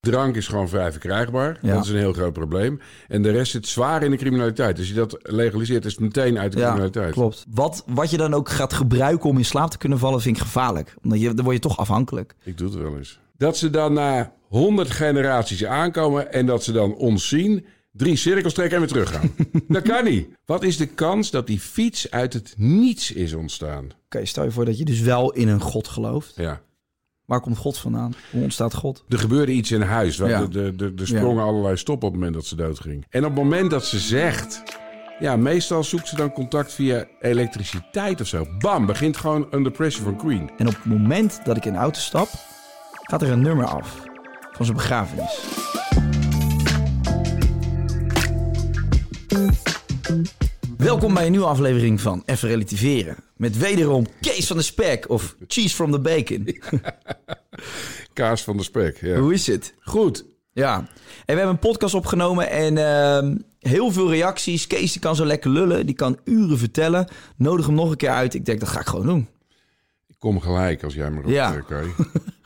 Drank is gewoon vrij verkrijgbaar. Ja. Dat is een heel groot probleem. En de rest zit zwaar in de criminaliteit. Als je dat legaliseert, is het meteen uit de criminaliteit. klopt. Wat, wat je dan ook gaat gebruiken om in slaap te kunnen vallen, vind ik gevaarlijk. Omdat je, dan word je toch afhankelijk. Ik doe het wel eens. Dat ze dan na 100 generaties aankomen en dat ze dan ons zien, drie cirkels trekken en weer teruggaan. dat kan niet. Wat is de kans dat die fiets uit het niets is ontstaan? Oké, stel je voor dat je dus wel in een God gelooft. Ja. Waar komt God vandaan? Hoe ontstaat God? Er gebeurde iets in huis. Waar Ja. de, de, de, er sprongen allerlei stoppen op het moment dat ze doodging. En op het moment dat ze zegt... Ja, meestal zoekt ze dan contact via elektriciteit of zo. Bam, begint gewoon Under Pressure van Queen. En op het moment dat ik in de auto stap, gaat er een nummer af van zijn begrafenis. Welkom bij een nieuwe aflevering van Even Relativeren. Met wederom Kees van de Spek of Cheese from the Bacon. Kaas van de spek, ja. Hoe is het? Goed. Ja, en we hebben een podcast opgenomen en ehm, heel veel reacties. Kees die kan zo lekker lullen, die kan uren vertellen. Nodig hem nog een keer uit. Ik denk, dat ga ik gewoon doen. Ik kom gelijk als jij me roept, Ja. ja.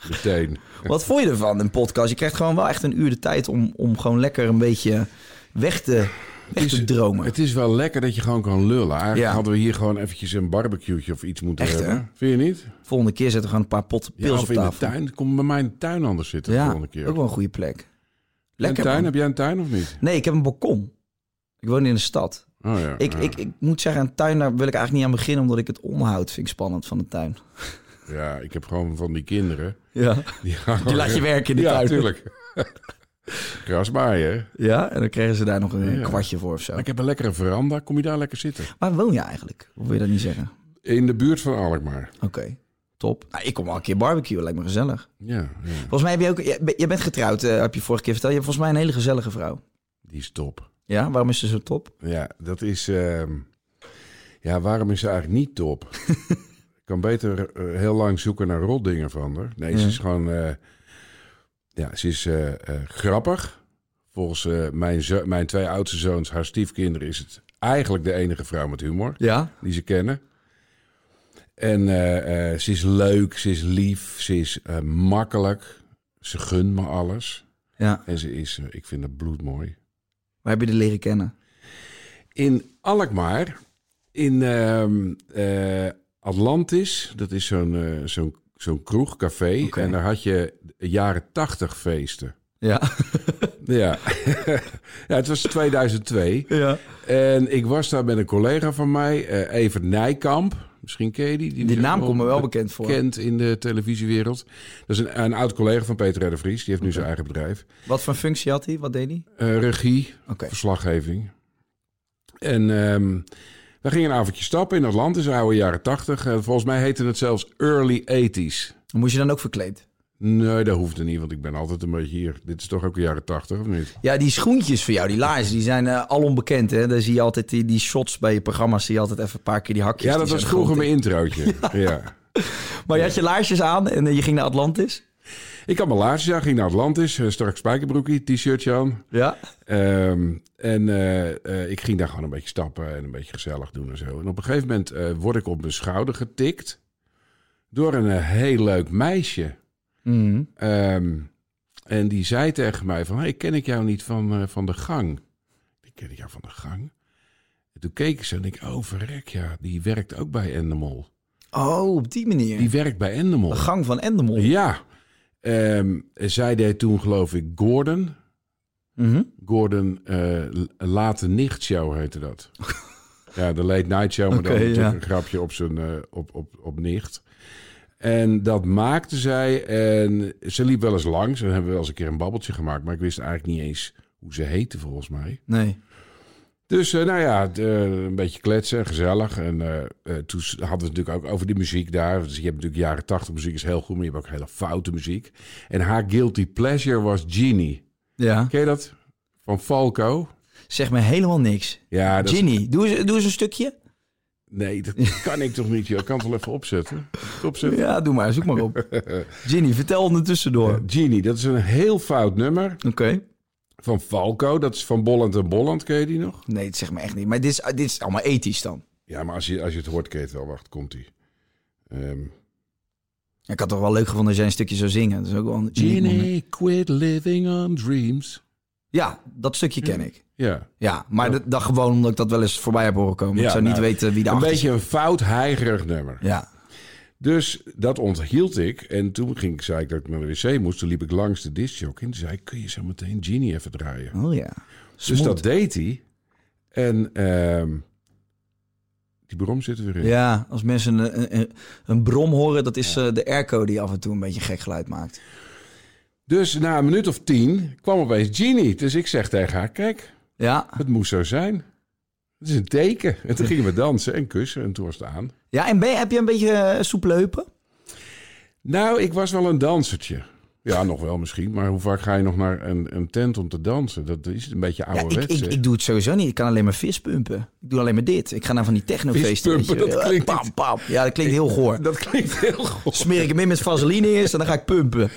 Meteen. Wat vond je ervan, een podcast? Je krijgt gewoon wel echt een uur de tijd om, om gewoon lekker een beetje weg te, weg te dromen. Het is wel lekker dat je gewoon kan lullen. Eigenlijk Ja. hadden we hier gewoon eventjes een barbecue of iets moeten Echt, hebben. hè? Vind je niet? Volgende keer zetten we gewoon een paar potten Ja, pils of op in de tafel. tuin. Kom bij mij in de tuin anders zitten de ja, volgende keer. ook wel een goede plek. een Lekker tuin? man. Heb jij een tuin of niet? Nee, ik heb een balkon. Ik woon in de stad. Oh ja. Ik, ja. ik, ik moet zeggen, een tuin daar wil ik eigenlijk niet aan beginnen... omdat ik het onhoud vind ik spannend van de tuin. Ja, ik heb gewoon van die kinderen. Ja. Die, gaan Die gewoon- laat je werken in de ja, tuin. tuurlijk. Gras maaien. hè? Ja, en dan kregen ze daar nog een Ja. kwartje voor of zo. Maar ik heb een lekkere veranda. Kom je daar lekker zitten? Waar woon je eigenlijk? Of wil je dat niet zeggen? In de buurt van Alkmaar. Oké, top. Nou, ik kom wel een keer barbecue, lijkt me gezellig. Ja, ja. Volgens mij heb je ook... Je, ben- je bent getrouwd, eh, heb je vorige keer verteld. Je hebt volgens mij een hele gezellige vrouw. die is top. Ja, waarom is ze zo top? Ja, dat is... ehm, ja, waarom is ze eigenlijk niet top? ik kan beter eh, heel lang zoeken naar rotdingen van haar. Nee, ze Ja. is gewoon... eh, ja, ze is eh, eh, grappig. Volgens eh, mijn, zo- mijn twee oudste zoons, haar stiefkinderen... is het eigenlijk de enige vrouw met humor. Ja? die ze kennen. En eh, eh, ze is leuk, ze is lief, ze is eh, makkelijk. Ze gunt me alles. Ja. En ze is, eh, ik vind het bloedmooi. Waar heb je de leren kennen? In Alkmaar, in ehm, eh, Atlantis, dat is zo'n eh, zo'n zo'n kroeg, café. Oké. En daar had je jaren tachtig feesten. Ja. Ja. ja, het was 2002. ja. En ik was daar met een collega van mij, eh Evert Nijkamp. Misschien ken je die. Die, Die is naam ook komt me wel bekend voor. Bekend in de televisiewereld. Dat is een, een oud collega van Peter R. de Vries. Die heeft nu zijn eigen bedrijf. Wat voor functie had hij? Wat deed hij? Eh, regie, Oké. verslaggeving. En ehm we gingen een avondje stappen in Atlantis, oude jaren tachtig. Eh, volgens mij heette het zelfs early 80s. Moest je dan ook verkleed? Nee, dat hoefde niet, want ik ben altijd een beetje hier. Dit is toch ook de jaren tachtig, of niet? Ja, die schoentjes van jou, die laarzen, die zijn eh, al onbekend. Hè? Daar zie je altijd die, die shots bij je programma's. Zie je altijd even een paar keer die hakjes. Ja, die dat zijn was groot vroeger in. mijn introotje. ja. Maar je had je laarsjes aan en eh, je ging naar Atlantis. Ik had mijn laarsjes aan, ging naar Atlantis, eh, strak spijkerbroekje, t-shirtje aan. Ja. Ehm, en eh, eh, ik ging daar gewoon een beetje stappen en een beetje gezellig doen en zo. En op een gegeven moment eh, word ik op mijn schouder getikt door een eh, heel leuk meisje. Mhm. Ehm, en die zei tegen mij van, hey, ken ik jou niet van, eh, van de gang? Ik ken ik jou van de gang? En toen keek ik ze en ik, oh verrek ja, die werkt ook bij Endemol. Oh, op die manier. Die werkt bij Endemol. De gang van Endemol. Ja. Ehm, zij deed toen geloof ik Gordon. Mhm. Gordon eh Late Nicht Show heette dat. Ja, de late night show, maar Oké, dan natuurlijk ja. een grapje op zijn eh, op, op, op nicht. En dat maakte zij. En ze liep wel eens langs. En hebben we wel eens een keer een babbeltje gemaakt. Maar ik wist eigenlijk niet eens hoe ze heette, volgens mij. Nee. Dus eh, nou ja, d- eh, een beetje kletsen, gezellig. En eh, eh, toen s- hadden we het natuurlijk ook over die muziek daar. Dus je hebt natuurlijk jaren tachtig muziek, is heel goed. Maar je hebt ook hele foute muziek. En haar guilty pleasure was Genie. Ja. Ken je dat? Van Falco. Zeg me helemaal niks. Ja, dat is- Ginny, doe eens, doe eens een stukje. Nee, dat kan ik toch niet, joh. Ik kan het wel even opzetten. Opzetten. Ja, doe maar. Zoek maar op. Ginny, vertel ondertussen door. Oké. Genie, dat is een heel fout nummer van Falco. Dat is van Bolland en Bolland, ken je die nog? Nee, het zegt me echt niet. Maar dit is, dit is allemaal ethisch dan. Ja, maar als je, als je het hoort, ken je het wel. Wacht, komt-ie. Ehm, Ik had toch wel leuk gevonden als jij een stukje zou zingen. Dat is ook wel een uniek moment. Ginny, quit living on dreams. Ja, dat stukje ken ik. Ja. Ja, maar dat, dat gewoon omdat ik dat wel eens voorbij heb horen komen. Ja, ik zou niet nou, weten wie Een daarachter beetje een fout, heigerig nummer. zit. Ja. Dus dat onthield ik. En toen ging, ik- zei ik dat ik naar de wc moest. Toen liep ik langs de discjockey. En toen zei ik, kun je zo meteen Genie even draaien? Oh ja. Dus Smooth. dat deed hij. En ehm, die brom zit er weer in. Ja, als mensen een, een- een, een brom horen, dat is eh, de airco die af en toe een beetje gek geluid maakt. Dus na een minuut of tien kwam opeens Genie. Dus ik zeg tegen haar, kijk, Ja. het moest zo zijn. Het is een teken. En toen gingen we dansen en kussen en toen was het aan. Ja, en ben, je- heb je een beetje eh, soepele heupen? Nou, ik was wel een dansertje. Ja, nog wel misschien. Maar hoe vaak ga je nog naar een, een tent om te dansen? Dat is een beetje Ja, ik, ouderwets. ik, hè? ik doe het sowieso niet. Ik kan alleen maar vispumpen. Ik doe alleen maar dit. Ik ga naar van die technofeesten. weet Vispumpen, je. dat klinkt Pam, pam. Ja, dat klinkt heel goor. Dat klinkt heel goed. Smeer ik hem in met vaseline eerst en dan ga ik pumpen.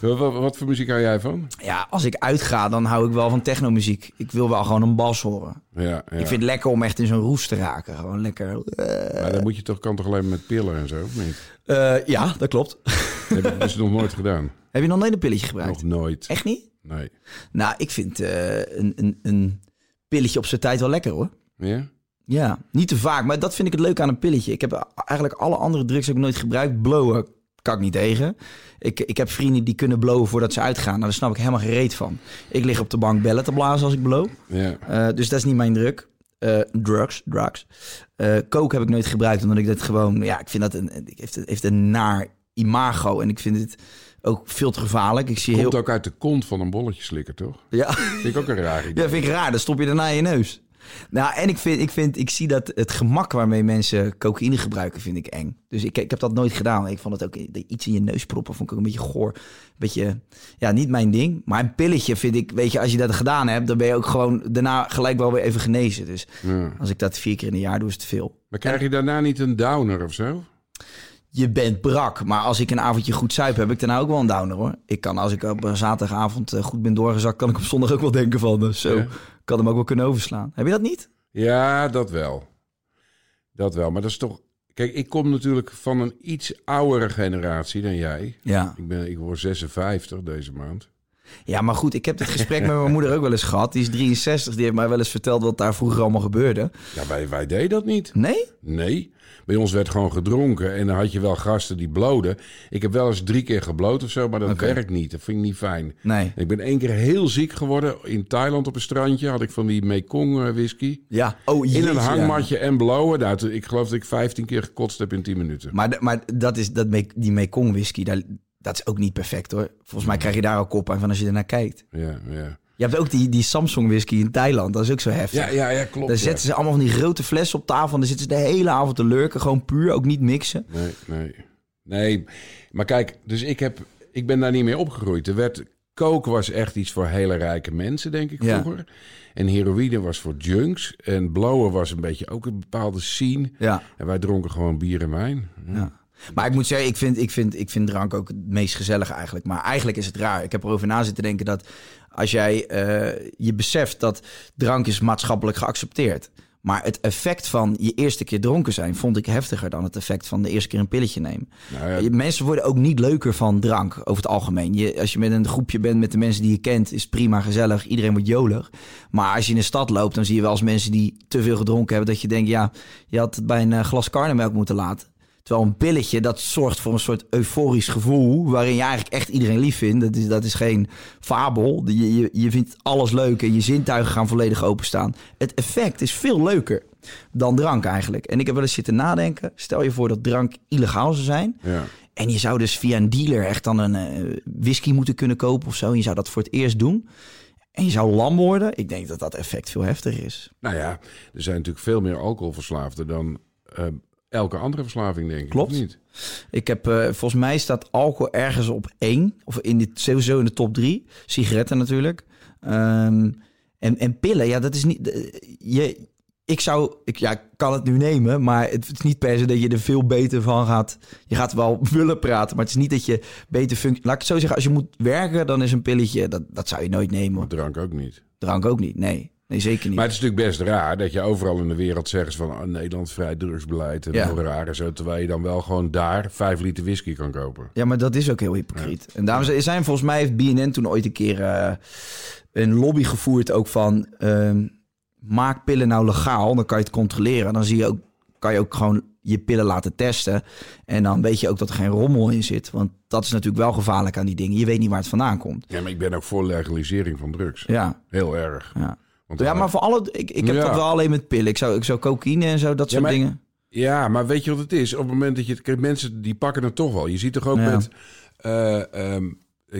Dus Wat, wat- wat voor muziek hou jij van? Ja, als ik uitga, dan hou ik wel van technomuziek. Ik wil wel gewoon een bas horen. Ja, ja. Ik vind het lekker om echt in zo'n roes te raken. Gewoon lekker. eh, Maar dan moet je toch, kan toch alleen met pillen en zo? of niet? eh, ja, dat klopt. Dat heb ik dus nog nooit gedaan. heb je nog nooit een pilletje gebruikt? Nog nooit. Echt niet? Nee. Nou, ik vind eh, een, een, een pilletje op zijn tijd wel lekker hoor. Ja? Ja, niet te vaak, maar dat vind ik het leuk aan een pilletje. Ik heb a- eigenlijk alle andere drugs ook nooit gebruikt. Blowen kan ik niet tegen. Ik, ik heb vrienden die kunnen blowen voordat ze uitgaan. Nou, daar snap ik helemaal gereed van. Ik lig op de bank bellen te blazen als ik blow. Ja. Eh, dus dat is niet mijn druk. Eh, drugs, drugs. Eh coke heb ik nooit gebruikt, omdat ik dat gewoon... Ja, ik vind dat een, het heeft, een- heeft een naar imago. En ik vind het ook veel te gevaarlijk. Ik zie Komt heel... ook uit de kont van een bolletje slikker, toch? Ja. Vind ik ook een raar idee. Ja, vind ik raar. Dan stop je daarna in je neus. Nou, en ik, vind, ik, vind, ik zie dat het gemak waarmee mensen cocaïne gebruiken, vind ik eng. Dus ik, ik heb dat nooit gedaan. Ik vond het ook iets in je neus proppen, vond ik ook een beetje goor. Beetje, ja, niet mijn ding. Maar een pilletje vind ik, weet je, als je dat gedaan hebt, dan ben je ook gewoon daarna gelijk wel weer even genezen. Dus Ja. als ik dat vier keer in een jaar doe, is het veel. Maar krijg je daarna niet een downer of zo? Je bent brak, maar als ik een avondje goed zuip, heb ik daarna ook wel een downer hoor. Ik kan als ik op een zaterdagavond eh, goed ben doorgezakt, kan ik op zondag ook wel denken van, eh, zo, Ja. kan hem ook wel kunnen overslaan. Heb je dat niet? Ja, dat wel. Dat wel, maar dat is toch... Kijk, ik kom natuurlijk van een iets oudere generatie dan jij. Ja. Ik, ben, ik word 56 deze maand. Ja, maar goed, ik heb dit gesprek met mijn moeder ook wel eens gehad. Die is 63, die heeft mij wel eens verteld wat daar vroeger allemaal gebeurde. Ja, wij, wij deden dat niet. Nee? Nee, bij ons werd gewoon gedronken. En dan had je wel gasten die bloden. Ik heb wel eens drie keer gebloot of zo, maar dat werkt niet. Dat vind ik niet fijn. Nee. Ik ben één keer heel ziek geworden. In Thailand op een strandje had ik van die Mekong eh, whisky. Ja. Oh, In jeetje, een ja. hangmatje en blowen. Nou, toen- ik geloof dat ik 15 keer gekotst heb in 10 minuten. Maar, de- maar dat is, dat, Mek- die Mekong whisky, daar, dat is ook niet perfect hoor. Volgens mij krijg je daar al kop aan van als je ernaar kijkt. Ja, ja. Je hebt ook die, die Samsung whisky in Thailand, dat is ook zo heftig. Ja, ja, ja, klopt. Daar ja. zetten ze allemaal van die grote flessen op tafel en dan zitten ze de hele avond te lurken. Gewoon puur, ook niet mixen. Nee, nee. Nee, maar kijk, dus ik, heb, ik ben daar niet mee opgegroeid. Er werd, coke was echt iets voor hele rijke mensen, denk ik, Ja. vroeger. En heroïne was voor junks. En blowen was een beetje ook een bepaalde scene. Ja. En wij dronken gewoon bier en wijn. Ja. Maar ik moet zeggen, ik vind, ik, vind, ik vind drank ook het meest gezellig eigenlijk. Maar eigenlijk is het raar. Ik heb erover na zitten denken dat als jij eh, je beseft dat drank is maatschappelijk geaccepteerd. Maar het effect van je eerste keer dronken zijn vond ik heftiger dan het effect van de eerste keer een pilletje nemen. Je- Mensen worden ook niet leuker van drank over het algemeen. Je, als je met een groepje bent met de mensen die je kent, is het prima gezellig. Iedereen wordt jolig. Maar als je in de stad loopt, dan zie je wel eens mensen die te veel gedronken hebben. Dat je denkt, ja, je had het bij een eh, glas karnemelk moeten laten. Terwijl een pilletje, dat zorgt voor een soort euforisch gevoel... waarin je eigenlijk echt iedereen lief vindt. Dat is, dat is geen fabel. Je, je, je vindt alles leuk en je zintuigen gaan volledig openstaan. Het effect is veel leuker dan drank eigenlijk. En ik heb wel eens zitten nadenken. Stel je voor dat drank illegaal zou zijn... Ja. En je zou dus via een dealer echt dan een eh, whisky moeten kunnen kopen of zo. En je zou dat voor het eerst doen. En je zou lam worden. Ik denk dat dat effect veel heftiger is. Nou ja, er zijn natuurlijk veel meer alcoholverslaafden dan eh, elke andere verslaving, denk ik. Klopt. of Niet? Ik heb, eh, volgens mij staat alcohol ergens op één. Of in dit sowieso in de top drie. Sigaretten natuurlijk. Ehm, en, en pillen, ja, dat is niet... de- Je, ik zou... Ik, ja, ik kan het nu nemen, maar het is niet per se dat je er veel beter van gaat... Je gaat wel willen praten, maar het is niet dat je beter functie. Laat ik het zo zeggen, als je moet werken, dan is een pilletje... Dat, dat zou je nooit nemen. Maar drank ook niet. Drank ook niet, nee. Nee, zeker niet. Maar het is natuurlijk best raar dat je overal in de wereld zegt van ah, Nederland vrij drugsbeleid en Ja. heel raar en zo. Terwijl je dan wel gewoon daar vijf liter whisky kan kopen. Ja, maar dat is ook heel hypocriet. En daarom zijn- zijn volgens mij heeft BNN toen ooit een keer eh, een lobby gevoerd ook van ehm, maak pillen nou legaal, dan kan je het controleren. Dan zie je ook, kan je ook gewoon je pillen laten testen. En dan weet je ook dat er geen rommel in zit. Want dat is natuurlijk wel gevaarlijk aan die dingen. Je weet niet waar het vandaan komt. Ja, maar ik ben ook voor legalisering van drugs. Ja, Heel erg. ja. Want ja dan- maar voor alle, ik, ik heb Ja. dat wel alleen met pillen. Ik zou, ik zou cocaïne en zo, dat soort maar- dingen. Ja, maar weet je wat het is? Op het moment dat je het... kijk, mensen die pakken het toch wel. Je ziet toch ook Ja. met... eh, ehm,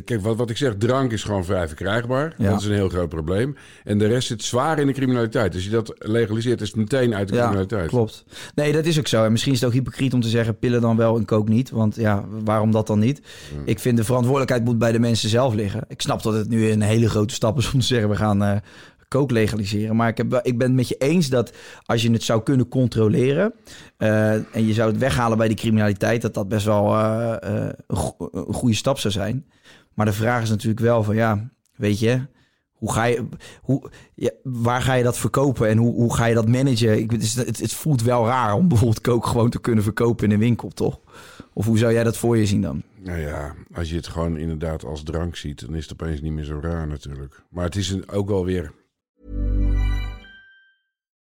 kijk, wat, wat ik zeg, drank is gewoon vrij verkrijgbaar. Ja. Dat is een heel groot probleem. En de rest zit zwaar in de criminaliteit. Dus als je dat legaliseert, is het meteen uit de criminaliteit. Klopt. Nee, dat is ook zo. En misschien is het ook hypocriet om te zeggen pillen dan wel en kook niet. Want ja, waarom dat dan niet? Ik vind de verantwoordelijkheid moet bij de mensen zelf liggen. Ik snap dat het nu een hele grote stap is om te zeggen we gaan eh kook legaliseren. Maar ik, heb, wel- ik ben het met je eens dat als je het zou kunnen controleren eh, en je zou het weghalen bij de criminaliteit, dat dat best wel eh, eh, een, go- een goede stap zou zijn. Maar de vraag is natuurlijk wel van ja, weet je. Hoe ga je, hoe, ja, waar ga je dat verkopen en hoe, hoe ga je dat managen? Ik, het, is- het, het voelt wel raar om bijvoorbeeld kook gewoon te kunnen verkopen in een winkel, toch? Of hoe zou jij dat voor je zien dan? Nou ja, als je het gewoon inderdaad als drank ziet... dan is het opeens niet meer zo raar natuurlijk. Maar het is een, ook wel weer...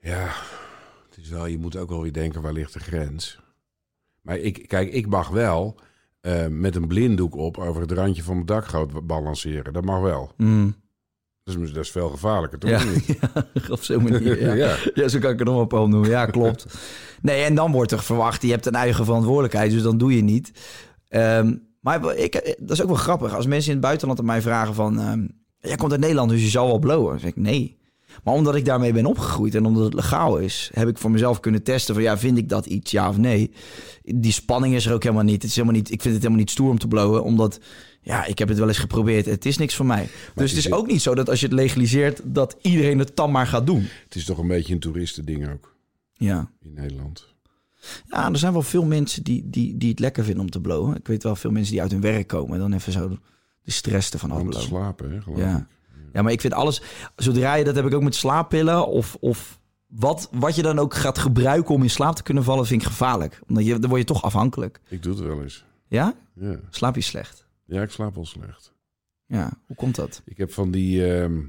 Ja, het is wel, je moet ook wel weer denken, waar ligt de grens? Maar ik, kijk, ik mag wel eh, met een blinddoek op... over het randje van mijn dakgoot balanceren. Dat mag wel. Dat is, dat is veel gevaarlijker, toch? Mm. Ja, Of niet? ja, op zo'n manier. Ja. Ja. Ja. zo kan ik er nog een paar noemen. Ja, klopt. Nee, en dan wordt er verwacht, je hebt een eigen verantwoordelijkheid, dus dan doe je niet. Ehm, maar ik, dat is ook wel grappig. Als mensen in het buitenland aan mij vragen van, ehm, jij komt uit Nederland, dus je zal wel blowen. Dan zeg ik, nee. Maar omdat ik daarmee ben opgegroeid en omdat het legaal is, heb ik voor mezelf kunnen testen van ja, vind ik dat iets, ja of nee. Die spanning is er ook helemaal niet. Het is helemaal niet ik vind het helemaal niet stoer om te blowen, omdat ja, ik heb het wel eens geprobeerd. Het is niks voor mij. dus het is is het- ook niet zo dat als je het legaliseert, dat iedereen het dan maar gaat doen. Het is toch een beetje een toeristending ook Ja. in Nederland. Ja, er zijn wel veel mensen die, die, die het lekker vinden om te blowen. Ik weet wel veel mensen die uit hun werk komen en dan even zo de stress ervan Om te afblowen. slapen, hè, geloof Ja. ik. ja, maar ik vind alles, zodra je dat heb ik ook met slaappillen of, of wat, wat je dan ook gaat gebruiken om in slaap te kunnen vallen, vind ik gevaarlijk. Omdat je, dan word je toch afhankelijk. Ik doe het wel eens. Ja? Ja. Slaap je slecht? ja, ik slaap wel slecht. Ja, hoe komt dat? Ik heb van die, ehm,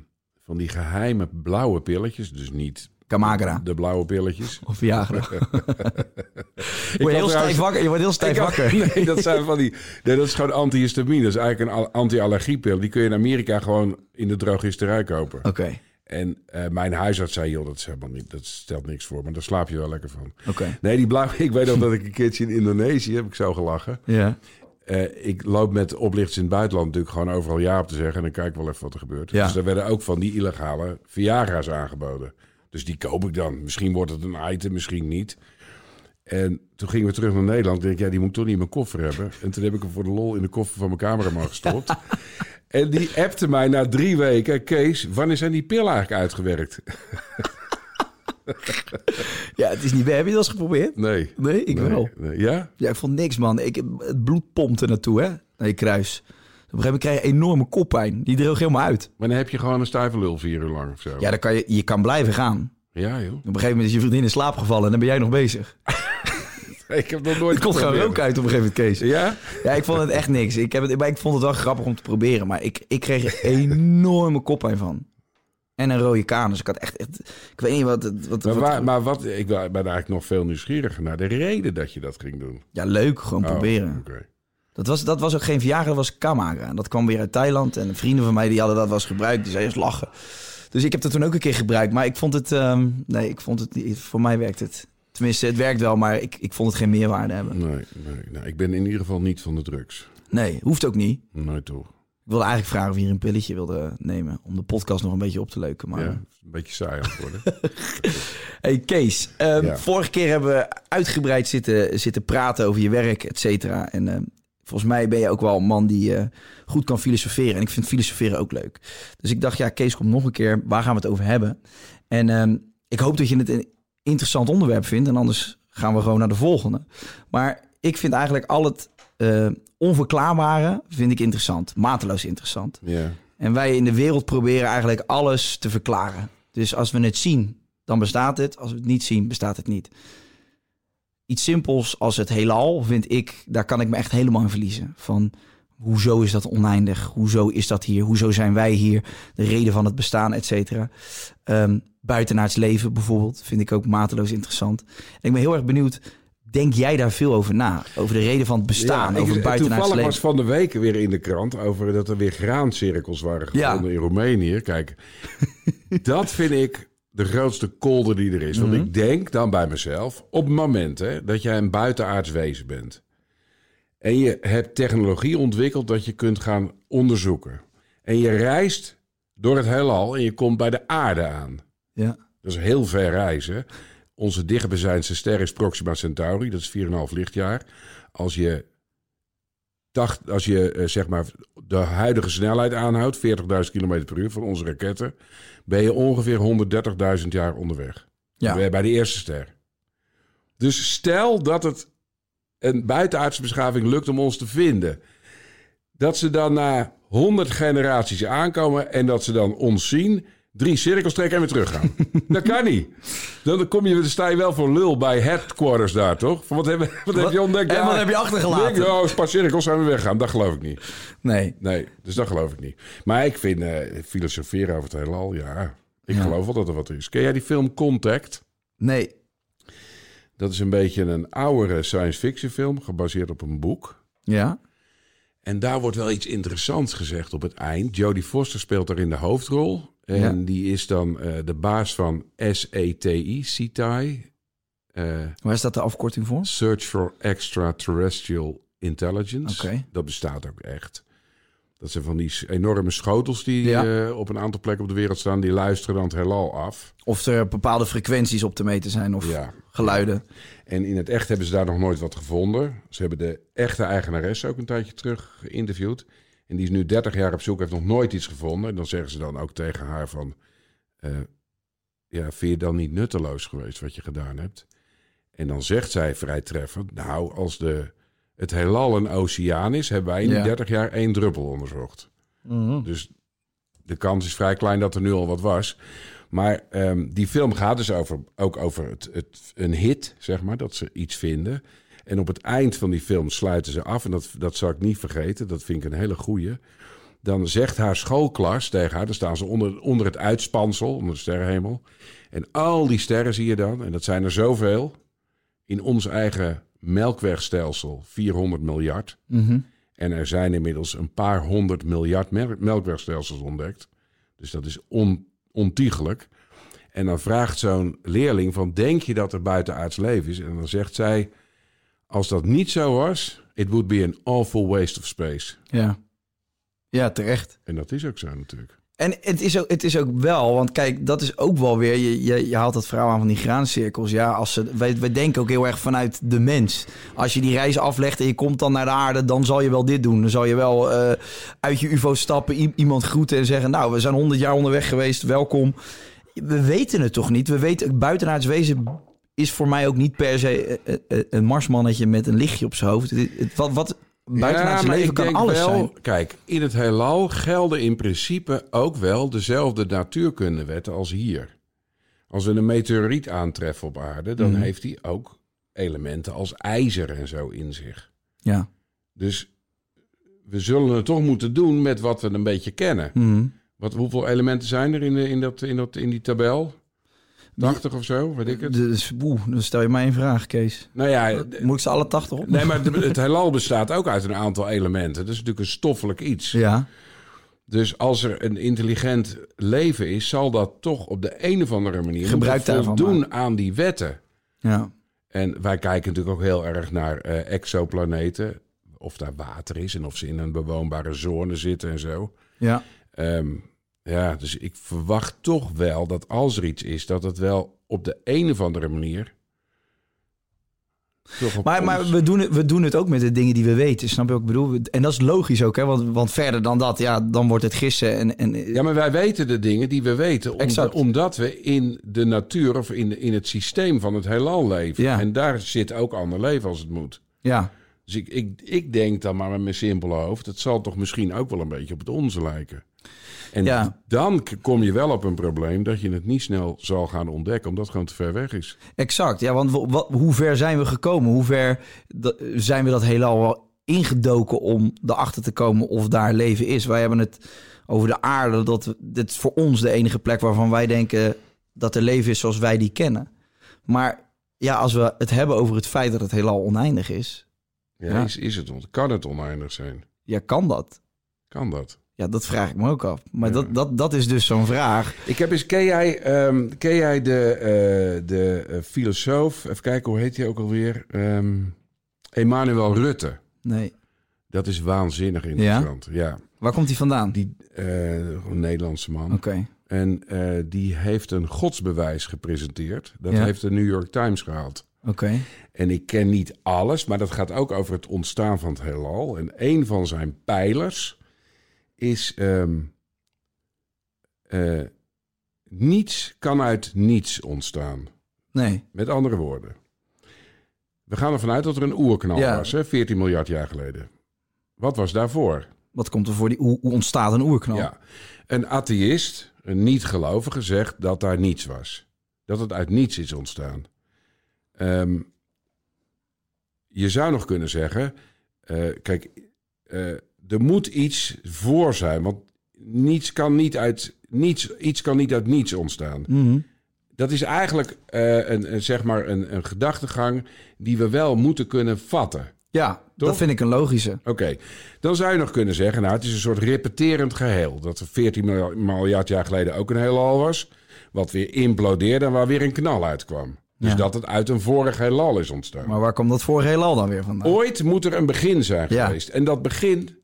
van die geheime blauwe pilletjes, dus niet Kamagra de blauwe pilletjes. of Viagra. je, had wordt heel trouwens- stijf wakker, je wordt heel stijf Ik had- wakker. Nee, dat zijn van die. Nee, dat is gewoon antihistamine. Dat is eigenlijk een al- anti-allergiepil. Die kun je in Amerika gewoon in de drogisterij kopen. Oké, En eh, mijn huisarts zei, joh, dat, is helemaal niet, dat stelt niks voor. Maar daar slaap je wel lekker van. oké. Nee, die blauwe... Ik weet nog dat ik een keertje in Indonesië heb ik zo gelachen. Ja. Eh, ik loop met oplichters in het buitenland natuurlijk gewoon overal ja op te zeggen. En dan kijk ik wel even wat er gebeurt. Ja. Dus er werden ook van die illegale Viagra's aangeboden. Dus die koop ik dan. Misschien wordt het een item, misschien niet. En toen gingen we terug naar Nederland. Ik denk, ja, die moet ik toch niet in mijn koffer hebben. En toen heb ik hem voor de lol in de koffer van mijn cameraman gestopt. en die appte mij na drie weken. Kees, wanneer zijn die pillen eigenlijk uitgewerkt? Ja, het is niet... Heb je dat eens geprobeerd? Nee. Nee, ik Nee, wel. nee. Ja? Ja, ik vond niks, man. Ik, het bloed pompte naartoe, hè? Naar je kruis. Op een gegeven moment krijg je enorme koppijn. Die droog helemaal uit. Maar dan heb je gewoon een stijve lul vier uur lang of zo. Ja, dan kan je, je kan blijven gaan. Ja, joh. Op een gegeven moment is je vriendin in slaap gevallen en dan ben jij nog bezig. Ik heb dat nooit Het komt gewoon geprobeerd. rook uit op een gegeven moment, Kees. Ja? Ja, ik vond het echt niks. Ik, heb het, maar ik vond het wel grappig om te proberen. Maar ik, ik kreeg er enorme koppijn van. En een rode kaan. Dus ik had echt... echt ik weet niet wat... het- wat, Maar, wat- waar- maar wat, ik ben eigenlijk nog veel nieuwsgieriger naar de reden dat je dat ging doen. Ja, leuk. Gewoon Oh, proberen. oké. Dat was, dat was ook geen verjaardag, dat was Kamaga. En dat kwam weer uit Thailand. En vrienden van mij die hadden dat was gebruikt. Die zeiden eens lachen. Dus ik heb dat toen ook een keer gebruikt. Maar ik vond het... ehm, nee, ik vond het niet... Voor mij werkt het. Tenminste, het werkt wel, maar ik, ik vond het geen meerwaarde hebben. Nee, nee, nee, ik ben in ieder geval niet van de drugs. Nee, hoeft ook niet. Nooit toch. Ik wilde eigenlijk vragen of je hier een pilletje wilde nemen. Om de podcast nog een beetje op te leuken. Maar... Ja, een beetje saai aan het worden. Hey Kees, ehm, Ja. vorige keer hebben we uitgebreid zitten, zitten praten over je werk, et cetera. En ehm, volgens mij ben je ook wel een man die eh, goed kan filosoferen. En ik vind filosoferen ook leuk. Dus ik dacht, ja, Kees komt nog een keer. Waar gaan we het over hebben? En ehm, ik hoop dat je het een interessant onderwerp vindt. En anders gaan we gewoon naar de volgende. Maar ik vind eigenlijk al het eh, onverklaarbare vind ik interessant. Mateloos interessant. ja. En wij in de wereld proberen eigenlijk alles te verklaren. Dus als we het zien, dan bestaat het. Als we het niet zien, bestaat het niet. Iets simpels als het heelal, vind ik, daar kan ik me echt helemaal in verliezen. Van hoezo is dat oneindig? Hoezo is dat hier? Hoezo zijn wij hier? De reden van het bestaan, et cetera. Ehm, buitenaards leven bijvoorbeeld, vind ik ook mateloos interessant. En ik ben heel erg benieuwd, denk jij daar veel over na? Over de reden van het bestaan, Ja, ik- over het buitenaards Toevallig leven? was van de week weer in de krant over dat er weer graancirkels waren Ja. gevonden in Roemenië. Kijk, dat vind ik de grootste kolder die er is. Want Mhm. ik denk dan bij mezelf, op het moment hè, dat jij een buitenaards wezen bent... en je hebt technologie ontwikkeld dat je kunt gaan onderzoeken... en je reist door het heelal en je komt bij de aarde aan... Ja, Dat is heel ver reizen. Onze dichtstbijzijnde ster is Proxima Centauri. Dat is 4,5 lichtjaar. Als je, tacht, als je eh, zeg maar de huidige snelheid aanhoudt, 40.000 km per uur van onze raketten, ben je ongeveer 130.000 jaar onderweg. Ja. Dan ben je bij de eerste ster. Dus stel dat het een buitenaardse beschaving lukt om ons te vinden. Dat ze dan na 100 generaties aankomen en dat ze dan ons zien, drie cirkels trekken en weer teruggaan. dat kan niet. Dan, kom je, dan sta je wel voor lul bij headquarters daar, toch? Van wat heb, wat heb Wat- je ontdekt? en wat Ja, heb je achtergelaten? ik denk, oh, een paar cirkels zijn we weggaan. Dat geloof ik niet. nee. Nee, dus dat geloof ik niet. Maar ik vind eh, filosoferen over het heelal, ja. Ik geloof wel dat er wat is. Ken jij die film Contact? Nee, Dat is een beetje een oudere science fiction film, gebaseerd op een boek. ja. En daar wordt wel iets interessants gezegd op het eind. Jodie Foster speelt daarin de hoofdrol. En Ja. die is dan eh, de baas van E SETI, CETI. eh, Waar staat de afkorting voor? Search for Extraterrestrial Intelligence. Oké. Dat bestaat ook echt. Dat zijn van die s- enorme schotels die Ja. eh, op een aantal plekken op de wereld staan. Die luisteren dan het heelal af. Of er bepaalde frequenties op te meten zijn of Ja. geluiden. En in het echt hebben ze daar nog nooit wat gevonden. Ze hebben de echte eigenares ook een tijdje terug geïnterviewd. En die is nu 30 jaar op zoek, heeft nog nooit iets gevonden. En dan zeggen ze dan ook tegen haar van... eh, ja, vind je dan niet nutteloos geweest wat je gedaan hebt? En dan zegt zij vrij treffend... Nou, als de, het heelal een oceaan is, hebben wij in die Ja. 30 jaar één druppel onderzocht. Dus de kans is vrij klein dat er nu al wat was. Maar ehm, die film gaat dus over, ook over het, het, een hit, zeg maar, dat ze iets vinden. En op het eind van die film sluiten ze af, en dat, dat zal ik niet vergeten, dat vind ik een hele goeie. Dan zegt haar schoolklas tegen haar, dan staan ze onder, onder het uitspansel, onder de sterrenhemel. En al die sterren zie je dan, en dat zijn er zoveel, in ons eigen melkwegstelsel 400 miljard. En er zijn inmiddels een paar honderd miljard mer- melkwegstelsels ontdekt. Dus dat is on, ontiegelijk. En dan vraagt zo'n leerling van, denk je dat er buitenaards leven is? En dan zegt zij, als dat niet zo was, it would be an awful waste of space. Ja. Ja, terecht. En dat is ook zo natuurlijk. En het is, ook, het is ook wel, want kijk, dat is ook wel weer, je, je, je haalt dat verhaal aan van die graancirkels. Ja, als ze, wij, wij denken ook heel erg vanuit de mens. Als je die reis aflegt en je komt dan naar de aarde, dan zal je wel dit doen. Dan zal je wel eh, uit je ufo stappen, i- iemand groeten en zeggen, nou, we zijn honderd jaar onderweg geweest, welkom. we weten het toch niet. We weten, buitenaards wezen is voor mij ook niet per se eh, eh, een marsmannetje met een lichtje op zijn hoofd. Het- het- Wat, wat buitenaards maar leven ik kan denk alles wel, zijn. Kijk, in het heelal gelden in principe ook wel dezelfde natuurkundewetten als hier. Als we een meteoriet aantreffen op aarde, Mhm. dan heeft die ook elementen als ijzer en zo in zich. Ja. Dus we zullen het toch moeten doen met wat we een beetje kennen. Mhm. Wat, hoeveel elementen zijn er in, de, in, dat, in, dat, in die tabel? 80 of zo, weet ik het. Dus, oeh, dan stel je mij een vraag, Kees. Nou ja, Eh, Moet ik ze alle 80 op? nee, maar het heelal bestaat ook uit een aantal elementen. Dat is natuurlijk een stoffelijk iets. Ja. Dus als er een intelligent leven is, zal dat toch op de een of andere manier Gebruik moeten daarvan voldoen aan die wetten. ja. En wij kijken natuurlijk ook heel erg naar eh, exoplaneten. Of daar water is en of ze in een bewoonbare zone zitten en zo. Ja. Ehm, ja, dus ik verwacht toch wel dat als er iets is, dat het wel op de een of andere manier. toch op Maar, ons- maar we, doen het, we doen het ook met de dingen die we weten, snap je wat ik bedoel? En dat is logisch ook, hè? Want, want verder dan dat, ja, dan wordt het gissen. En, en, eh, Ja, maar wij weten de dingen die we weten, om- Exact. omdat we in de natuur of in, in het systeem van het heelal leven. Ja. En daar zit ook ander leven als het moet. ja. Dus ik, ik, ik denk dan maar met mijn simpele hoofd, het zal toch misschien ook wel een beetje op het onze lijken. En Ja. dan k- kom je wel op een probleem dat je het niet snel zal gaan ontdekken, omdat het gewoon te ver weg is. Exact, ja, want wa- wa- hoe ver zijn we gekomen? Hoe ver da- zijn we dat heelal wel ingedoken om erachter te komen of daar leven is? Wij hebben het over de aarde, dat we- dit is voor ons de enige plek waarvan wij denken dat er leven is zoals wij die kennen. Maar ja, als we het hebben over het feit dat het heelal oneindig is, Ja, Ja. Is, is het, on- kan het oneindig zijn? ja, kan dat? Kan dat? Ja, dat vraag ik me ook af. Maar Ja. dat, dat, dat is dus zo'n vraag. Ik heb eens, ken jij, ehm, ken jij de, eh, de eh, filosoof, even kijken hoe heet hij ook alweer? Ehm, Emmanuel Rutte. Nee. Dat is waanzinnig interessant. Ja, Waar komt die vandaan? die eh, een Nederlandse man. Oké. En eh, die heeft een godsbewijs gepresenteerd. Dat Ja. heeft de New York Times gehaald. Oké. En ik ken niet alles, maar dat gaat ook over het ontstaan van het heelal. En een van zijn pijlers is... ehm, eh, niets kan uit niets ontstaan. Nee. Met andere woorden. We gaan ervan uit dat er een oerknal Ja. was, hè, 14 miljard jaar geleden. Wat was daarvoor? Wat komt er voor die... Hoe, hoe ontstaat een oerknal? Ja. Een atheïst, een niet-gelovige, zegt dat daar niets was. Dat het uit niets is ontstaan. Ehm, je zou nog kunnen zeggen: eh, kijk, eh, er moet iets voor zijn. Want niets kan niet uit niets, iets kan niet uit niets ontstaan. Mhm. Dat is eigenlijk eh, een, een, zeg maar een, een gedachtegang die we wel moeten kunnen vatten. Ja, dat vind ik een logische. Oké, dan zou je nog kunnen zeggen, nou, het is een soort repeterend geheel. Dat er 14 milja- miljard jaar geleden ook een heelal was, wat weer implodeerde en waar weer een knal uitkwam. Dus Ja. dat het uit een vorig heelal is ontstaan. Maar waar komt dat vorige heelal dan weer vandaan? Ooit moet er een begin zijn Ja. geweest. En dat begin,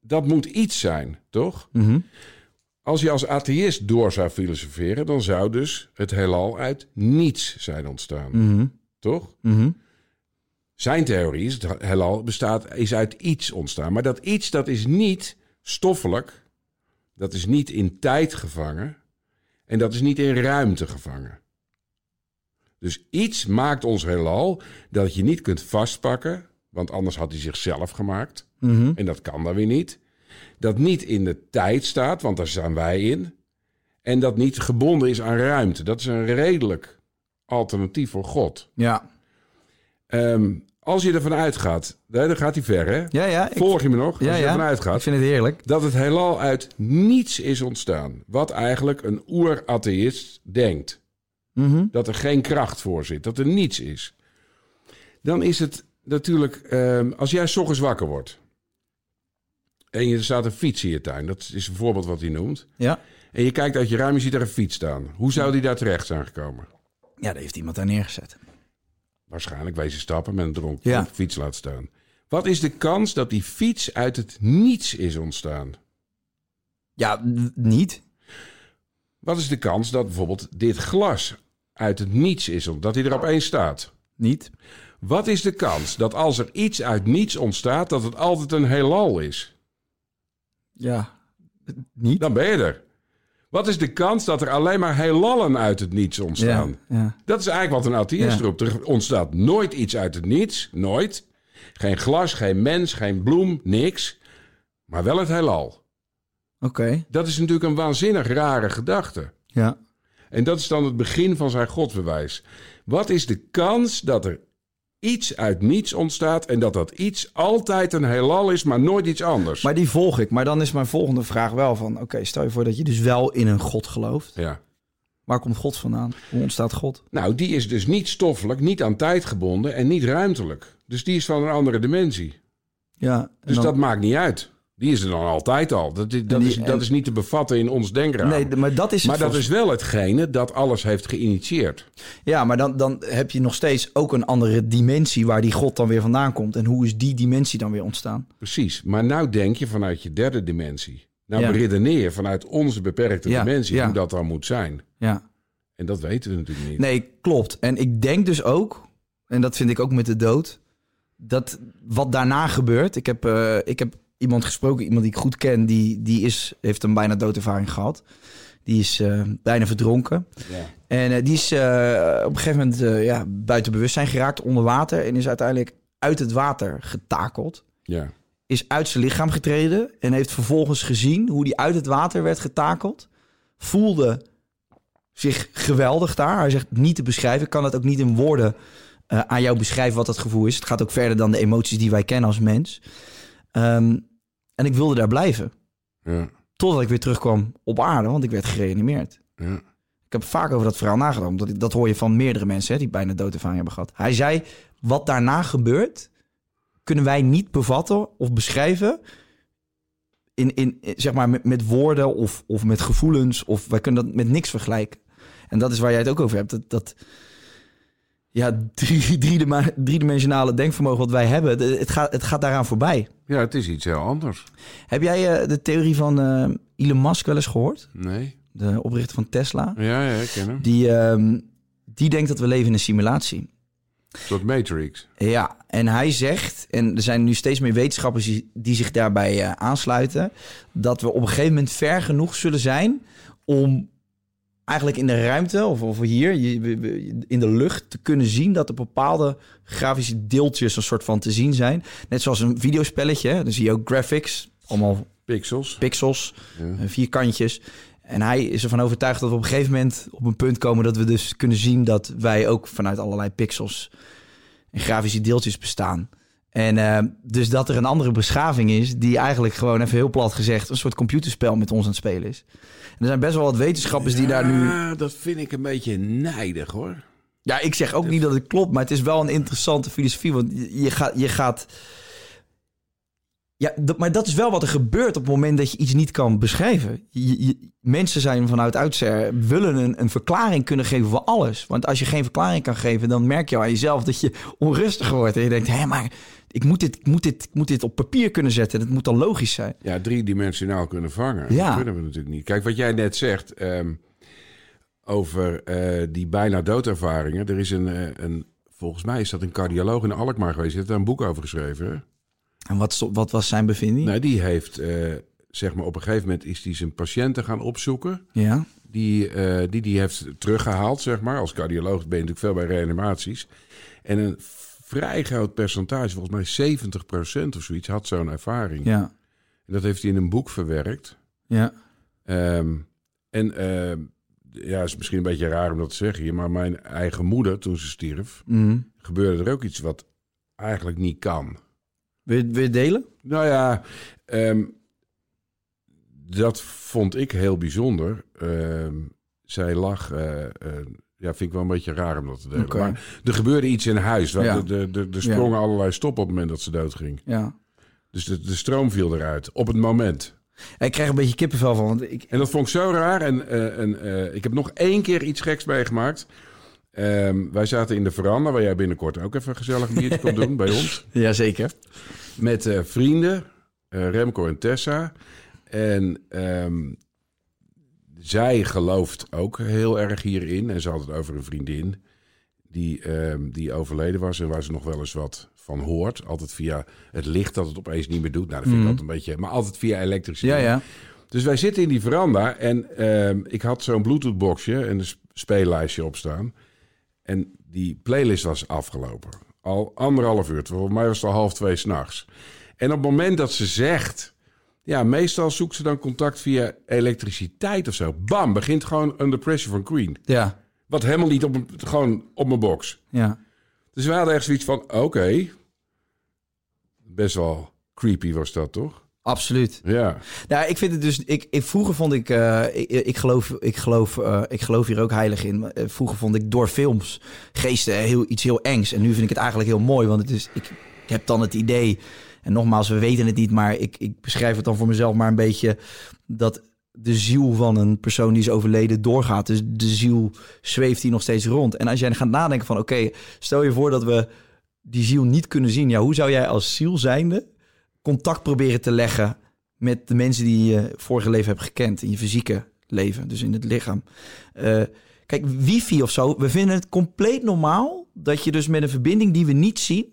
dat moet iets zijn, toch? Mhm. Als je als atheïst door zou filosoferen, dan zou dus het heelal uit niets zijn ontstaan, Mhm. toch? Mhm. Zijn theorie is, het heelal bestaat, is uit iets ontstaan. Maar dat iets, dat is niet stoffelijk. Dat is niet in tijd gevangen. En dat is niet in ruimte gevangen. Dus iets maakt ons heelal dat je niet kunt vastpakken. Want anders had hij zichzelf gemaakt. Mhm. En dat kan dan weer niet. Dat niet in de tijd staat, want daar staan wij in. En dat niet gebonden is aan ruimte. Dat is een redelijk alternatief voor God. Ja. Ehm, als je ervan uitgaat, nee, dan gaat hij ver, hè? Ja, ja. Ik, Volg je me nog? Als ja, je ja. ervan ik uitgaat vind het heerlijk. dat het heelal uit niets is ontstaan. Wat eigenlijk een oer-atheïst denkt. Mhm. Dat er geen kracht voor zit, dat er niets is. Dan is het natuurlijk, ehm, als jij 's ochtends wakker wordt... en je- er staat een fiets in je tuin, dat is een voorbeeld wat hij noemt... Ja. en je kijkt uit je raam, je ziet daar een fiets staan. Hoe zou die daar terecht zijn gekomen? ja, daar heeft iemand daar neergezet. Waarschijnlijk wezen stappen met een dronken Ja. fiets laat staan. Wat is de kans dat die fiets uit het niets is ontstaan? Ja, n- niet. Wat is de kans dat bijvoorbeeld dit glas uit het niets is, ont- dat hij er opeens staat? Niet. Wat is de kans dat als er iets uit niets ontstaat, dat het altijd een heelal is? Ja. Niet. Dan ben je er. Wat is de kans dat er alleen maar heilallen uit het niets ontstaan? Ja, ja. Dat is eigenlijk wat een atheïst Ja. roept. Er ontstaat nooit iets uit het niets. Nooit. Geen glas, geen mens, geen bloem, niks. Maar wel het heelal. Oké, Dat is natuurlijk een waanzinnig rare gedachte. ja. En dat is dan het begin van zijn godbewijs. Wat is de kans dat er iets uit niets ontstaat en dat dat iets altijd een heelal is, maar nooit iets anders? Maar die volg ik. Maar dan is mijn volgende vraag wel van... Oké, stel je voor dat je dus wel in een God gelooft. Ja. Waar komt God vandaan? Hoe ontstaat God? Nou, die is dus niet stoffelijk, niet aan tijd gebonden en niet ruimtelijk. Dus die is van een andere dimensie. Ja, en Dus dan- dat maakt niet uit. Die is er dan altijd al. Dat, dat, die- is, en- dat is niet te bevatten in ons denkraam. Nee, d- maar dat is het maar dat volgens- is wel hetgene dat alles heeft geïnitieerd. Ja, maar dan, dan heb je nog steeds ook een andere dimensie... waar die God dan weer vandaan komt. En hoe is die dimensie dan weer ontstaan? Precies. Maar nou denk je vanuit je derde dimensie. Nou Ja. beredeneer je vanuit onze beperkte Ja, dimensie ja. hoe dat dan moet zijn. Ja. En dat weten we natuurlijk niet. Nee, klopt. En ik denk dus ook, en dat vind ik ook met de dood, dat wat daarna gebeurt. Ik heb, eh, ik heb iemand gesproken, iemand die ik goed ken, die, die is, heeft een bijna doodervaring gehad. Die is eh, bijna verdronken. Ja. En eh, die is eh, op een gegeven moment eh, ja, buiten bewustzijn geraakt, onder water. En is uiteindelijk uit het water getakeld. Ja. Is uit zijn lichaam getreden. En heeft vervolgens gezien hoe die uit het water werd getakeld. Voelde zich geweldig daar. Hij zegt niet te beschrijven. Ik kan het ook niet in woorden eh, aan jou beschrijven wat dat gevoel is. Het gaat ook verder dan de emoties die wij kennen als mens. Ehm, en ik wilde daar blijven. Ja. Totdat ik weer terugkwam op aarde, want ik werd gereanimeerd. Ja. Ik heb vaak over dat verhaal nagedacht. Omdat ik- dat hoor je van meerdere mensen hè, die bijna doodervaring hebben gehad. Hij zei, wat daarna gebeurt, kunnen wij niet bevatten of beschrijven. In, in, in- zeg maar met, met woorden of, of met gevoelens. Of wij kunnen dat met niks vergelijken. En dat is waar jij het ook over hebt. Dat, dat ja, drie, driedema- driedimensionale denkvermogen wat wij hebben, de- het gaat, het gaat daaraan voorbij. ja, het is iets heel anders. Heb jij eh, de theorie van eh, Elon Musk wel eens gehoord? Nee. De oprichter van Tesla. Ja, ja, ik ken hem. Die, ehm, die denkt dat we leven in een simulatie. Een soort Matrix. Ja, en hij zegt, en er zijn nu steeds meer wetenschappers die, die zich daarbij eh, aansluiten, dat we op een gegeven moment ver genoeg zullen zijn om eigenlijk in de ruimte of, of hier je- we- we- in de lucht te kunnen zien dat er bepaalde grafische deeltjes een soort van te zien zijn. Net zoals een videospelletje, hè, dan zie je ook graphics, allemaal Pixels. pixels, Mm. eh, vierkantjes. En hij is ervan overtuigd dat we op een gegeven moment op een punt komen dat we dus kunnen zien dat wij ook vanuit allerlei pixels en grafische deeltjes bestaan. En eh, dus dat er een andere beschaving is die eigenlijk gewoon even heel plat gezegd een soort computerspel met ons aan het spelen is. En er zijn best wel wat wetenschappers Dus die daar nu. Ja, dat vind ik een beetje nijdig hoor. Ja, ik zeg ook niet dat het klopt, maar het is wel een interessante filosofie. Want je- je gaat. Je gaat ja, dat, maar dat is wel wat er gebeurt op het moment dat je iets niet kan beschrijven. Je, je- mensen zijn vanuit uitzer willen een, een verklaring kunnen geven voor alles. Want als je geen verklaring kan geven, dan merk je al aan jezelf dat je onrustig wordt. En je denkt, hé, maar ik moet dit, ik moet dit, ik moet dit op papier kunnen zetten. Dat moet dan logisch zijn. Ja, driedimensionaal kunnen vangen. Ja. Dat kunnen we natuurlijk niet. Kijk, wat jij net zegt ehm, over eh, die bijna doodervaringen. Er is een, eh, een, volgens mij is dat een cardioloog in Alkmaar geweest. Die heeft daar een boek over geschreven. hè? En wat, sto- wat was zijn bevinding? Nou, die heeft, eh, zeg maar, op een gegeven moment is die zijn patiënten gaan opzoeken. Ja, die, eh, die die heeft teruggehaald, zeg maar. Als cardioloog ben je natuurlijk veel bij reanimaties. En een vrij groot percentage, volgens mij 70% of zoiets, had zo'n ervaring. ja, En dat heeft hij in een boek verwerkt. ja. Ehm, en ehm, ja, is misschien een beetje raar om dat te zeggen hier, maar mijn eigen moeder, toen ze stierf, Mhm. gebeurde er ook iets wat eigenlijk niet kan. Wil, je- wil je het delen? Nou ja, ehm, dat vond ik heel bijzonder. Ehm, zij lag. eh, eh, ja, vind ik wel een beetje raar om dat te delen. Oké. Maar er gebeurde iets in huis. Waar Ja. de- de- de- Er sprongen allerlei stoppen op het moment dat ze doodging. Ja. Dus de, de stroom viel eruit. Op het moment. Ik krijg een beetje kippenvel van, want ik, En dat vond ik zo raar. En, eh, en eh, ik heb nog één keer iets geks meegemaakt. Ehm, wij zaten in de veranda, waar jij binnenkort ook even gezellig een biertje komt doen bij ons. Jazeker. met eh, vrienden, eh, Remco en Tessa. En ehm, zij gelooft ook heel erg hierin. En ze had het over een vriendin die, ehm, die overleden was en waar ze nog wel eens wat van hoort. Altijd via het licht dat het opeens niet meer doet. Nou, dat vind ik altijd een beetje... Maar altijd via elektrische Mhm. Ja, dingen. ja. Dus wij zitten in die veranda en ehm, ik had zo'n Bluetooth-boxje en een sp- speellijstje opstaan. En die playlist was afgelopen. Al anderhalf uur. Volgens mij was het al half twee s'nachts. En op het moment dat ze zegt... Ja, meestal zoekt ze dan contact via elektriciteit of zo. Bam, begint gewoon Under Pressure van Queen. Ja, Wat helemaal niet op, mijn- gewoon op mijn box. ja. Dus we hadden echt zoiets van, oké. Best wel creepy was dat, toch? Absoluut. Ja. Nou, ik vind het dus. Ik, ik, vroeger vond ik, eh, ik. Ik geloof, ik, geloof, eh, ik geloof hier ook heilig in. maar, eh, Vroeger vond ik door films geesten heel, iets heel engs. En nu vind ik het eigenlijk heel mooi. Want het is, ik, ik heb dan het idee. En nogmaals, we weten het niet. Maar ik, ik beschrijf het dan voor mezelf maar een beetje. Dat de ziel van een persoon die is overleden doorgaat. Dus de ziel zweeft hier nog steeds rond. En als jij gaat nadenken van. Oké, stel je voor dat we die ziel niet kunnen zien. Ja, hoe zou jij als ziel zijnde contact proberen te leggen met de mensen die je vorige leven hebt gekend. In je fysieke leven, dus in het lichaam. Eh, kijk, wifi of zo, we vinden het compleet normaal dat je dus met een verbinding die we niet zien,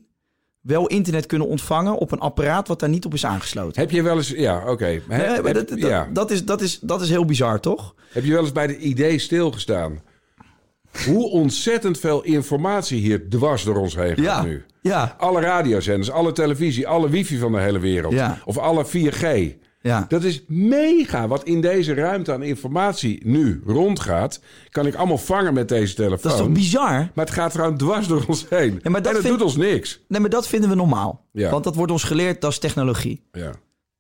wel internet kunnen ontvangen op een apparaat wat daar niet op is aangesloten. Heb je wel eens... Ja, oké. He- Nee, maar heb- dat, dat, ja. dat, is, dat, is, dat is heel bizar, toch? Heb je wel eens bij het idee stilgestaan? Hoe ontzettend veel informatie hier dwars door ons heen gaat nu. ja, Alle radiozenders, alle televisie, alle wifi van de hele wereld. Ja. Of alle 4G. ja. Dat is mega. Wat in deze ruimte aan informatie nu rondgaat, kan ik allemaal vangen met deze telefoon. Dat is toch bizar? Maar het gaat gewoon dwars door ons heen. maar dat en dat vind- doet ons niks. Nee, maar dat vinden we normaal. Ja. Want dat wordt ons geleerd, dat is technologie. Ja.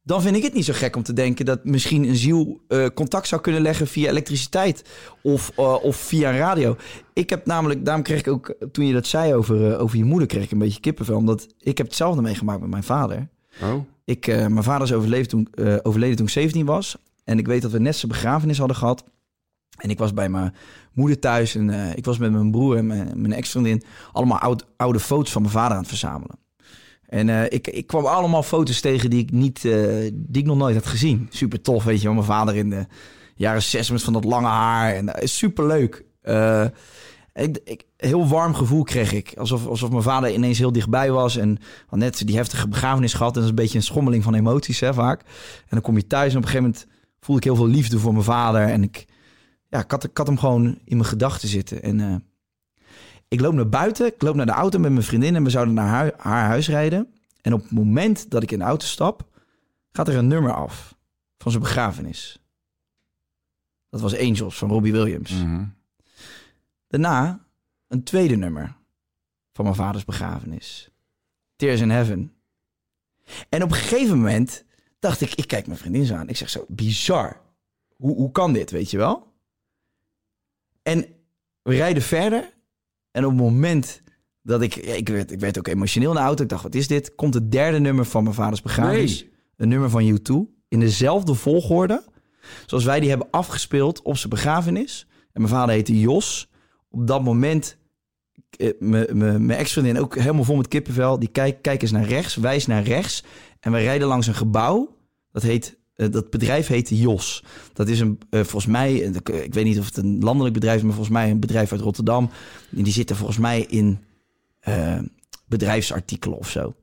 dan vind ik het niet zo gek om te denken dat misschien een ziel eh, contact zou kunnen leggen via elektriciteit of, eh, of via radio. Ik heb namelijk, daarom kreeg ik ook, toen je dat zei over, eh, over je moeder, kreeg ik een beetje kippenvel. Omdat ik heb hetzelfde meegemaakt met mijn vader. Oh. Ik, eh, mijn vader is overleefd toen, eh, overleden toen ik 17 was. En ik weet dat we net zijn begrafenis hadden gehad. En ik was bij mijn moeder thuis en eh, ik was met mijn broer en mijn, mijn ex-vriendin allemaal oud, oude foto's van mijn vader aan het verzamelen. En eh, ik, ik kwam allemaal foto's tegen die ik, niet, eh, die ik nog nooit had gezien. Super tof, weet je wel. Mijn vader in de jaren 60 met van dat lange haar. En eh, super leuk. Eh, ik, ik, heel warm gevoel kreeg ik. Alsof, alsof mijn vader ineens heel dichtbij was. En had net die heftige begrafenis gehad. En dat is een beetje een schommeling van emoties, hè, vaak. En dan kom je thuis en op een gegeven moment voelde ik heel veel liefde voor mijn vader. En ik, ja, ik, had, ik had hem gewoon in mijn gedachten zitten. En eh, ik loop naar buiten, ik loop naar de auto met mijn vriendin. En we zouden naar hui- haar huis rijden. En op het moment dat ik in de auto stap, gaat er een nummer af van zijn begrafenis. Dat was Angels van Robbie Williams. Daarna een tweede nummer van mijn vaders begrafenis. Tears in Heaven. En op een gegeven moment dacht ik, ik kijk mijn vriendin zo aan. Ik zeg zo, bizar. Hoe, hoe kan dit, weet je wel? En we rijden verder. En op het moment dat ik... ja, ik, werd, ik werd ook emotioneel in de auto. Ik dacht, wat is dit? Komt het derde nummer van mijn vaders begrafenis. Nee. Een nummer van U2. In dezelfde volgorde. Zoals wij die hebben afgespeeld op zijn begrafenis. En mijn vader heette Jos. Op dat moment eh, mijn- mijn mijn ex-vriendin ook helemaal vol met kippenvel. Die kijkt kijk eens naar rechts, wijst naar rechts. En we rijden langs een gebouw. Dat, heet, eh, dat bedrijf heet Jos. Dat is een, eh, volgens mij, eh, ik, ik weet niet of het een landelijk bedrijf is, maar volgens mij een bedrijf uit Rotterdam. En die zitten volgens mij in eh, bedrijfsartikelen of zo.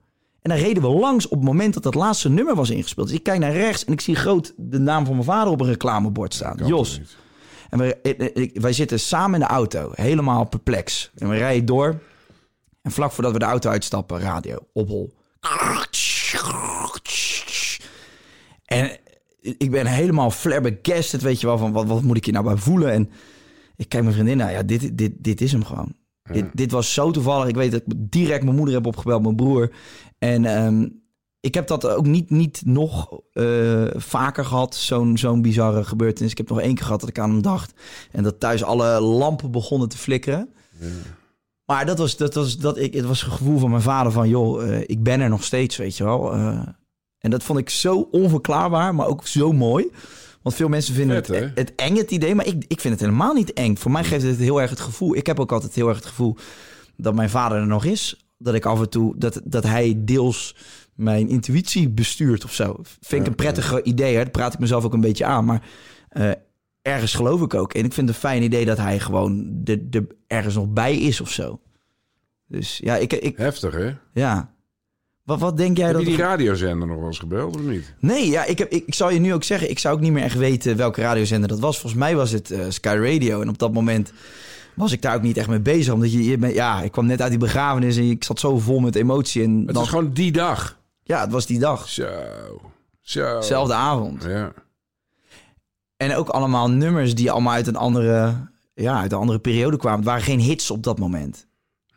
En dan reden we langs op het moment dat dat laatste nummer was ingespeeld. Dus ik kijk naar rechts en ik zie groot de naam van mijn vader op een reclamebord staan. Kan Jos. toch niet? En we, ik- ik- wij zitten samen in de auto, helemaal perplex. En we rijden door. En vlak voordat we de auto uitstappen, radio, ophol. En ik ben helemaal flabbergasted, weet je wel, van wat, wat moet ik hier nou bij voelen? En ik kijk mijn vriendin aan, ja, dit, dit, dit is hem gewoon. Dit, dit was zo toevallig. Ik weet dat ik direct mijn moeder heb opgebeld, mijn broer. En ehm, ik heb dat ook niet, niet nog eh, vaker gehad, zo'n zo'n bizarre gebeurtenis. Ik heb nog één keer gehad dat ik aan hem dacht. En dat thuis alle lampen begonnen te flikkeren. Maar dat was, dat was, dat ik, het was het gevoel van mijn vader van... joh, eh, ik ben er nog steeds, weet je wel. Eh, en dat vond ik zo onverklaarbaar, maar ook zo mooi. Want veel mensen vinden Vet, het, hè? het eng, het idee. Maar ik, ik vind het helemaal niet eng. Voor mij geeft het heel erg het gevoel... Ik heb ook altijd heel erg het gevoel dat mijn vader er nog is. Dat ik af en toe, dat, dat hij deels mijn intuïtie bestuurt of zo. Vind ik een prettiger idee, hè? Daar praat ik mezelf ook een beetje aan. Maar eh, ergens geloof ik ook. En ik vind het een fijn idee dat hij gewoon de, de, ergens nog bij is of zo. Dus ja, ik, ik, Heftig, hè? ja. Wat, wat denk jij Heb dat... je die er- radiozender nog wel eens gebeld of niet? Nee, ja, ik, heb, ik, ik zal je nu ook zeggen, ik zou ook niet meer echt weten welke radiozender dat was. Volgens mij was het eh, Sky Radio. En op dat moment was ik daar ook niet echt mee bezig. Omdat je, je bent- ja, ik kwam net uit die begrafenis en ik zat zo vol met emotie. En Het dan, is gewoon die dag. Ja, het was die dag. Zo. Zo. Zelfde avond. Ja. En ook allemaal nummers die allemaal uit een andere, ja, uit een andere periode kwamen. Het waren geen hits op dat moment.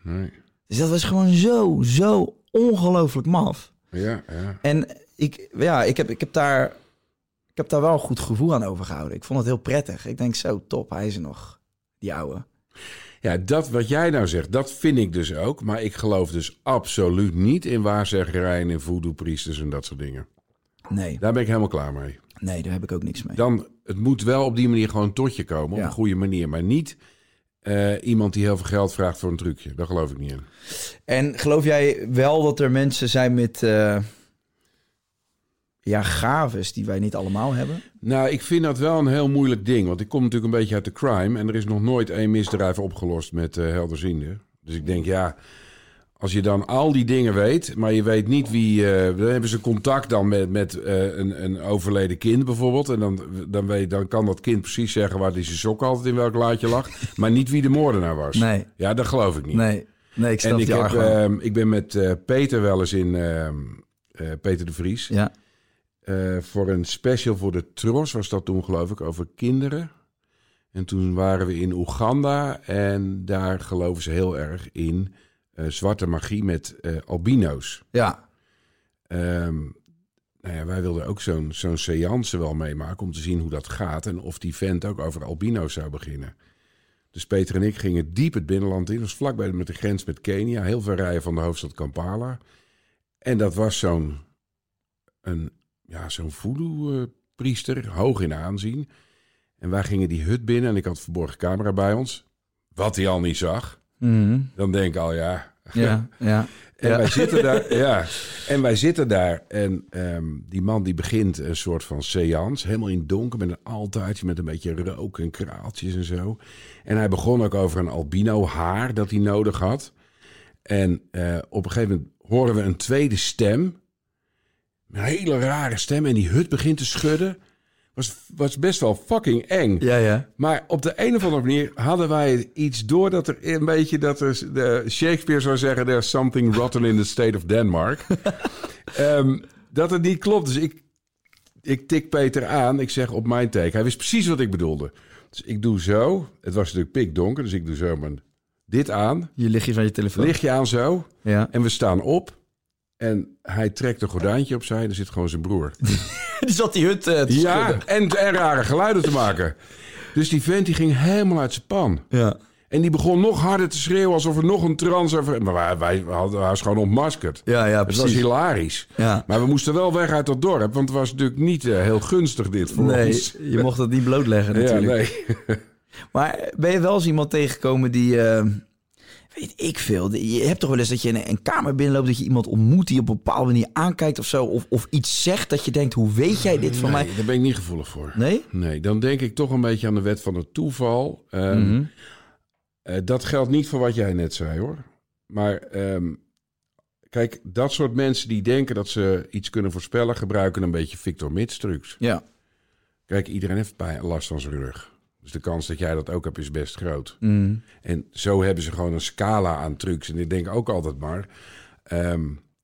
Nee. Dus dat was gewoon zo, zo ongelooflijk maf. Ja, ja. En ik, ja, ik, heb, ik, heb daar, ik heb daar wel een goed gevoel aan overgehouden. Ik vond het heel prettig. Ik denk zo, top, hij is er nog, die ouwe. Ja, dat wat jij nou zegt, dat vind ik dus ook. Maar ik geloof dus absoluut niet in waarzeggerijen en voodoo-priesters en dat soort dingen. Nee, Daar ben ik helemaal klaar mee. nee, daar heb ik ook niks mee. Dan, het moet wel op die manier gewoon tot je komen, op Ja. een goede manier. Maar niet eh, iemand die heel veel geld vraagt voor een trucje. Daar geloof ik niet in. En geloof jij wel dat er mensen zijn met, eh, ja, gaves die wij niet allemaal hebben? Nou, ik vind dat wel een heel moeilijk ding. Want ik kom natuurlijk een beetje uit de crime. En er is nog nooit één misdrijf opgelost met eh helderziende. Dus ik denk, ja, als je dan al die dingen weet... maar je weet niet wie... eh, dan hebben ze contact dan met, met eh, een, een overleden kind bijvoorbeeld. En dan, dan, weet, dan kan dat kind precies zeggen waar die zijn sok altijd in welk laadje lag. maar niet wie de moordenaar was. Nee. Ja, dat geloof ik niet. Nee, nee, ik snap En ik, die heb, argwaan. ehm, ik ben met eh, Peter wel eens in... ehm, eh, Peter de Vries. Ja, Eh, voor een special voor de Tros was dat toen, geloof ik, over kinderen. En toen waren we in Oeganda en daar geloven ze heel erg in eh, zwarte magie met eh, albino's. ja. Ehm, nou ja, wij wilden ook zo'n zo'n seance wel meemaken om te zien hoe dat gaat en of die vent ook over albino's zou beginnen. Dus Peter en ik gingen diep het binnenland in, dat was vlakbij de, met de grens met Kenia, heel ver rijden van de hoofdstad Kampala. En dat was zo'n een, ja, zo'n voodoo-priester, hoog in aanzien. En wij gingen die hut binnen en ik had verborgen camera bij ons, wat hij al niet zag. Mhm. Dan denk ik al, ja, Ja, ja. En, Ja. wij zitten daar, ja. en wij zitten daar. En ehm, die man die begint een soort van seance. Helemaal in het donker met een altaartje met een beetje rook en kraaltjes en zo. En hij begon ook over een albino haar dat hij nodig had. En eh, op een gegeven moment horen we een tweede stem. Een hele rare stem. En die hut begint te schudden. Was, was best wel fucking eng. Ja, ja. Maar op de een of andere manier hadden wij iets door dat er een beetje dat er de Shakespeare zou zeggen: There's something rotten in the state of Denmark. Ehm, dat het niet klopt. Dus ik, ik tik Peter aan. Ik zeg op mijn teken. Hij wist precies wat ik bedoelde. Dus ik doe zo. Het was natuurlijk pikdonker, dus ik doe zo mijn dit aan. Je lichtje van je telefoon. Lichtje aan zo. Ja. En we staan op. En hij trekt een gordijntje opzij. Er zit gewoon zijn broer. Die zat die hut eh, te Ja, schudden. en, en rare geluiden te maken. Dus die vent die ging helemaal uit zijn pan. Ja. En die begon nog harder te schreeuwen alsof er nog een trans... Over... Maar wij, wij hadden haar gewoon ontmaskerd. Ja, ja, het was precies. hilarisch. Ja. Maar we moesten wel weg uit dat dorp. Want het was natuurlijk niet eh, heel gunstig dit voor Nee, ons. je mocht dat niet blootleggen Ja, natuurlijk. nee. Maar ben je wel eens iemand tegengekomen die... eh, weet ik veel. die- Je hebt toch wel eens dat je in een- een kamer binnenloopt... dat je iemand ontmoet die op een bepaalde manier aankijkt of zo... of, of iets zegt dat je denkt, hoe weet jij dit van mij? Nee, daar ben ik niet gevoelig voor. Nee? Nee, dan denk ik toch een beetje aan de wet van het toeval. Ehm, Mhm. eh, dat geldt niet voor wat jij net zei hoor. Maar ehm, kijk, dat soort mensen die denken dat ze iets kunnen voorspellen, gebruiken een beetje Victor Mits trucs. Ja. Kijk, iedereen heeft pijn, last van zijn rug. Dus de kans dat jij dat ook hebt is best groot. En zo hebben ze gewoon een scala aan trucs. En ik denk ook altijd maar... ehm,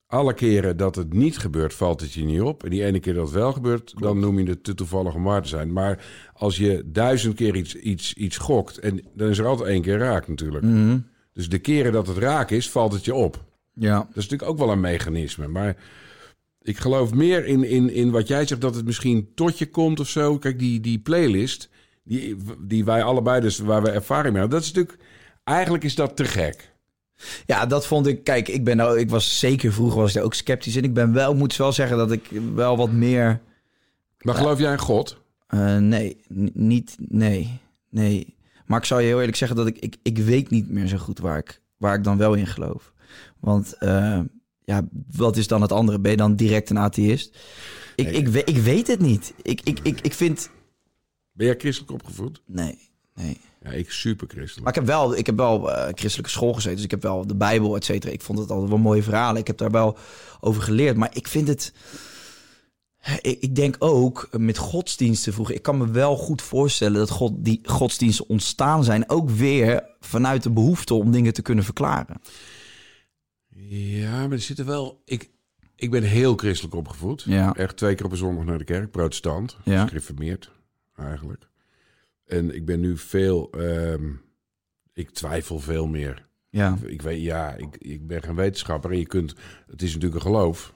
alle keren dat het niet gebeurt, valt het je niet op. En die ene keer dat het wel gebeurt, dan noem je het te toevallig om waar te zijn. Maar als je duizend keer iets, iets, iets gokt... En dan is er altijd één keer raak natuurlijk. Dus de keren dat het raak is, valt het je op. Ja. Dat is natuurlijk ook wel een mechanisme. Maar ik geloof meer in, in, in wat jij zegt, dat het misschien tot je komt of zo. Kijk, die, die playlist, die, die wij allebei, dus waar we ervaring mee hebben, dat is natuurlijk. Eigenlijk is dat te gek. Ja, dat vond ik. Kijk, ik ben nou, ik was zeker vroeger was ik daar ook sceptisch in. Ik ben wel, ik moet wel zeggen dat ik wel wat meer. Maar geloof jij in God? eh, nee, n- niet. Nee, nee. Maar ik zal je heel eerlijk zeggen dat ik, ik, ik weet niet meer zo goed waar ik, waar ik dan wel in geloof. Want eh, ja, wat is dan het andere? Ben je dan direct een atheïst? Ik, ik, we- ik weet het niet. Ik, ik, ik, ik vind. Ben jij christelijk opgevoed? Nee, nee. Ja, ik super christelijk. Maar ik heb wel, ik heb wel eh, christelijke school gezeten. Dus ik heb wel de Bijbel, et cetera. Ik vond het altijd wel mooie verhalen. Ik heb daar wel over geleerd. Maar ik vind het... Ik, ik denk ook eh, met godsdiensten vroeger. Ik kan me wel goed voorstellen dat God, die godsdiensten ontstaan zijn. Ook weer vanuit de behoefte om dingen te kunnen verklaren. Ja, maar er zitten wel. Ik, ik ben heel christelijk opgevoed. Ja. Echt twee keer op een zondag naar de kerk, protestant. Ja. Dus gereformeerd, eigenlijk. En ik ben nu veel. ehm, ik twijfel veel meer. Ja. Ik, weet, ja, ik, ik ben geen wetenschapper. En je kunt. Het is natuurlijk een geloof.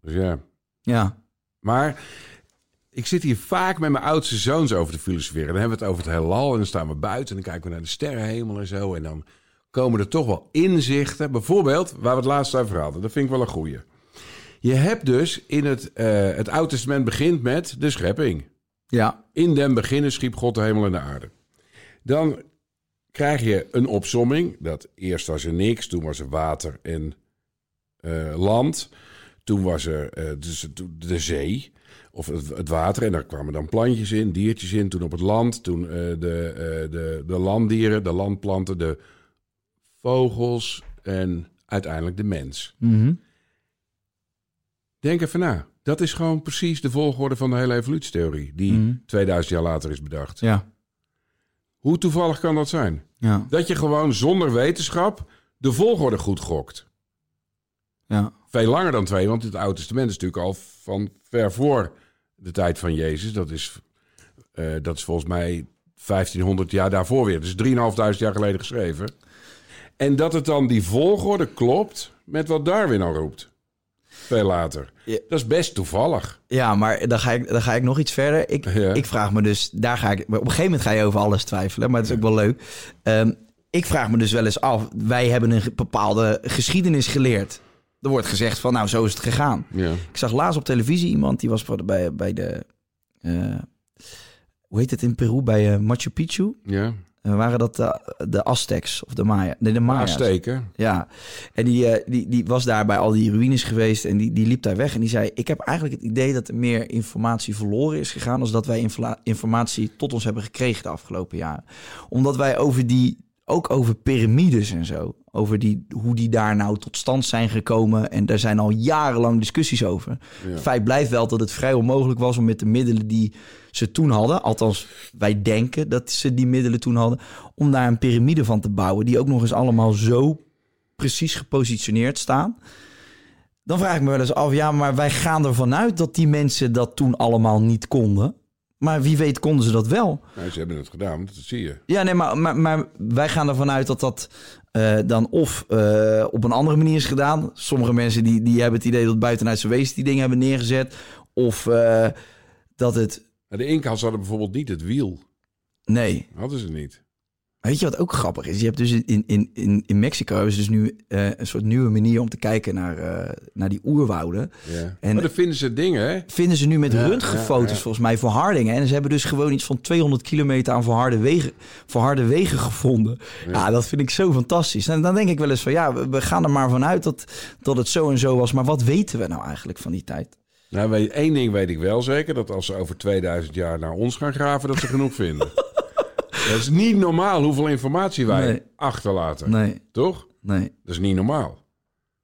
Dus ja. Ja. Maar ik zit hier vaak met mijn oudste zoons over te filosoferen. Dan hebben we het over het heelal en dan staan we buiten en dan kijken we naar de sterrenhemel en zo. En dan komen er toch wel inzichten. Bijvoorbeeld, waar we het laatst over hadden. Dat vind ik wel een goeie. Je hebt dus in het, eh het Oude Testament begint met de schepping. Ja. In den beginnen schiep God de hemel en de aarde. Dan krijg je een opsomming. Dat eerst was er niks, toen was er water en eh, land. Toen was er eh, dus de, de zee, of het, het water. En daar kwamen dan plantjes in, diertjes in. Toen op het land, toen eh, de, eh, de, de landdieren, de landplanten, de vogels en uiteindelijk de mens. Mhm. Denk even na. Dat is gewoon precies de volgorde van de hele evolutietheorie... die Mhm. 2000 jaar later is bedacht. Ja. Hoe toevallig kan dat zijn? Ja. Dat je gewoon zonder wetenschap de volgorde goed gokt. Ja. Veel langer dan twee, want het Oude Testament is natuurlijk al van ver voor de tijd van Jezus. Dat is, eh, dat is volgens mij 1500 jaar daarvoor weer. Dus 3.500 jaar geleden geschreven. En dat het dan die volgorde klopt met wat Darwin al roept. Veel later. Ja. Dat is best toevallig. Ja, maar dan ga ik, dan ga ik nog iets verder. Ik, Ja. ik vraag me dus, daar ga ik, maar op een gegeven moment ga je over alles twijfelen, maar het is ook wel leuk. Ehm, ik vraag me dus wel eens af, wij hebben een ge- bepaalde geschiedenis geleerd. Er wordt gezegd van, nou zo is het gegaan. Ja. Ik zag laatst op televisie iemand, die was voor de- bij, bij de, eh, hoe heet het in Peru, bij eh, Machu Picchu? ja. Eh, waren dat de, de Aztecs of de Maya? Nee, de Maya's. Aansteken. Ja, en die, eh, die, die was daar bij al die ruïnes geweest en die, die liep daar weg. En die zei, ik heb eigenlijk het idee dat er meer informatie verloren is gegaan... als dat wij infla- informatie tot ons hebben gekregen de afgelopen jaren. Omdat wij over die, ook over piramides en zo... over die, hoe die daar nou tot stand zijn gekomen... en daar zijn al jarenlang discussies over. Het feit blijft wel dat het vrij onmogelijk was om met de middelen die ze toen hadden... althans, wij denken dat ze die middelen toen hadden... om daar een piramide van te bouwen... die ook nog eens allemaal zo precies gepositioneerd staan. Dan vraag ik me wel eens af, ja, maar wij gaan ervan uit dat die mensen dat toen allemaal niet konden. Maar wie weet konden ze dat wel. Nou, ze hebben het gedaan, dat zie je. Ja, nee, maar, maar, maar wij gaan ervan uit dat dat eh, dan of eh, op een andere manier is gedaan. Sommige mensen die, die hebben het idee dat buitenuitse wezens die dingen hebben neergezet. Of eh, dat het... Nou, De Inca's hadden bijvoorbeeld niet het wiel. Nee, Hadden ze niet. Weet je wat ook grappig is? Je hebt dus in, in, in, in Mexico hebben ze dus nu eh, een soort nieuwe manier om te kijken naar, eh, naar die oerwouden. Ja. En- maar dan vinden ze dingen, hè? Vinden ze nu met Ja, röntgenfoto's ja, ja. volgens mij verhardingen. En ze hebben dus gewoon iets van 200 kilometer aan verharde wegen, verharde wegen gevonden. Ja. dat vind ik zo fantastisch. En dan denk ik wel eens van ja, we, we gaan er maar vanuit dat, dat het zo en zo was. Maar wat weten we nou eigenlijk van die tijd? Nou, weet, één ding weet ik wel zeker: dat als ze over 2000 jaar naar ons gaan graven, dat ze genoeg vinden. Dat is niet normaal hoeveel informatie wij Nee. achterlaten. Nee, Toch? nee. Dat is niet normaal.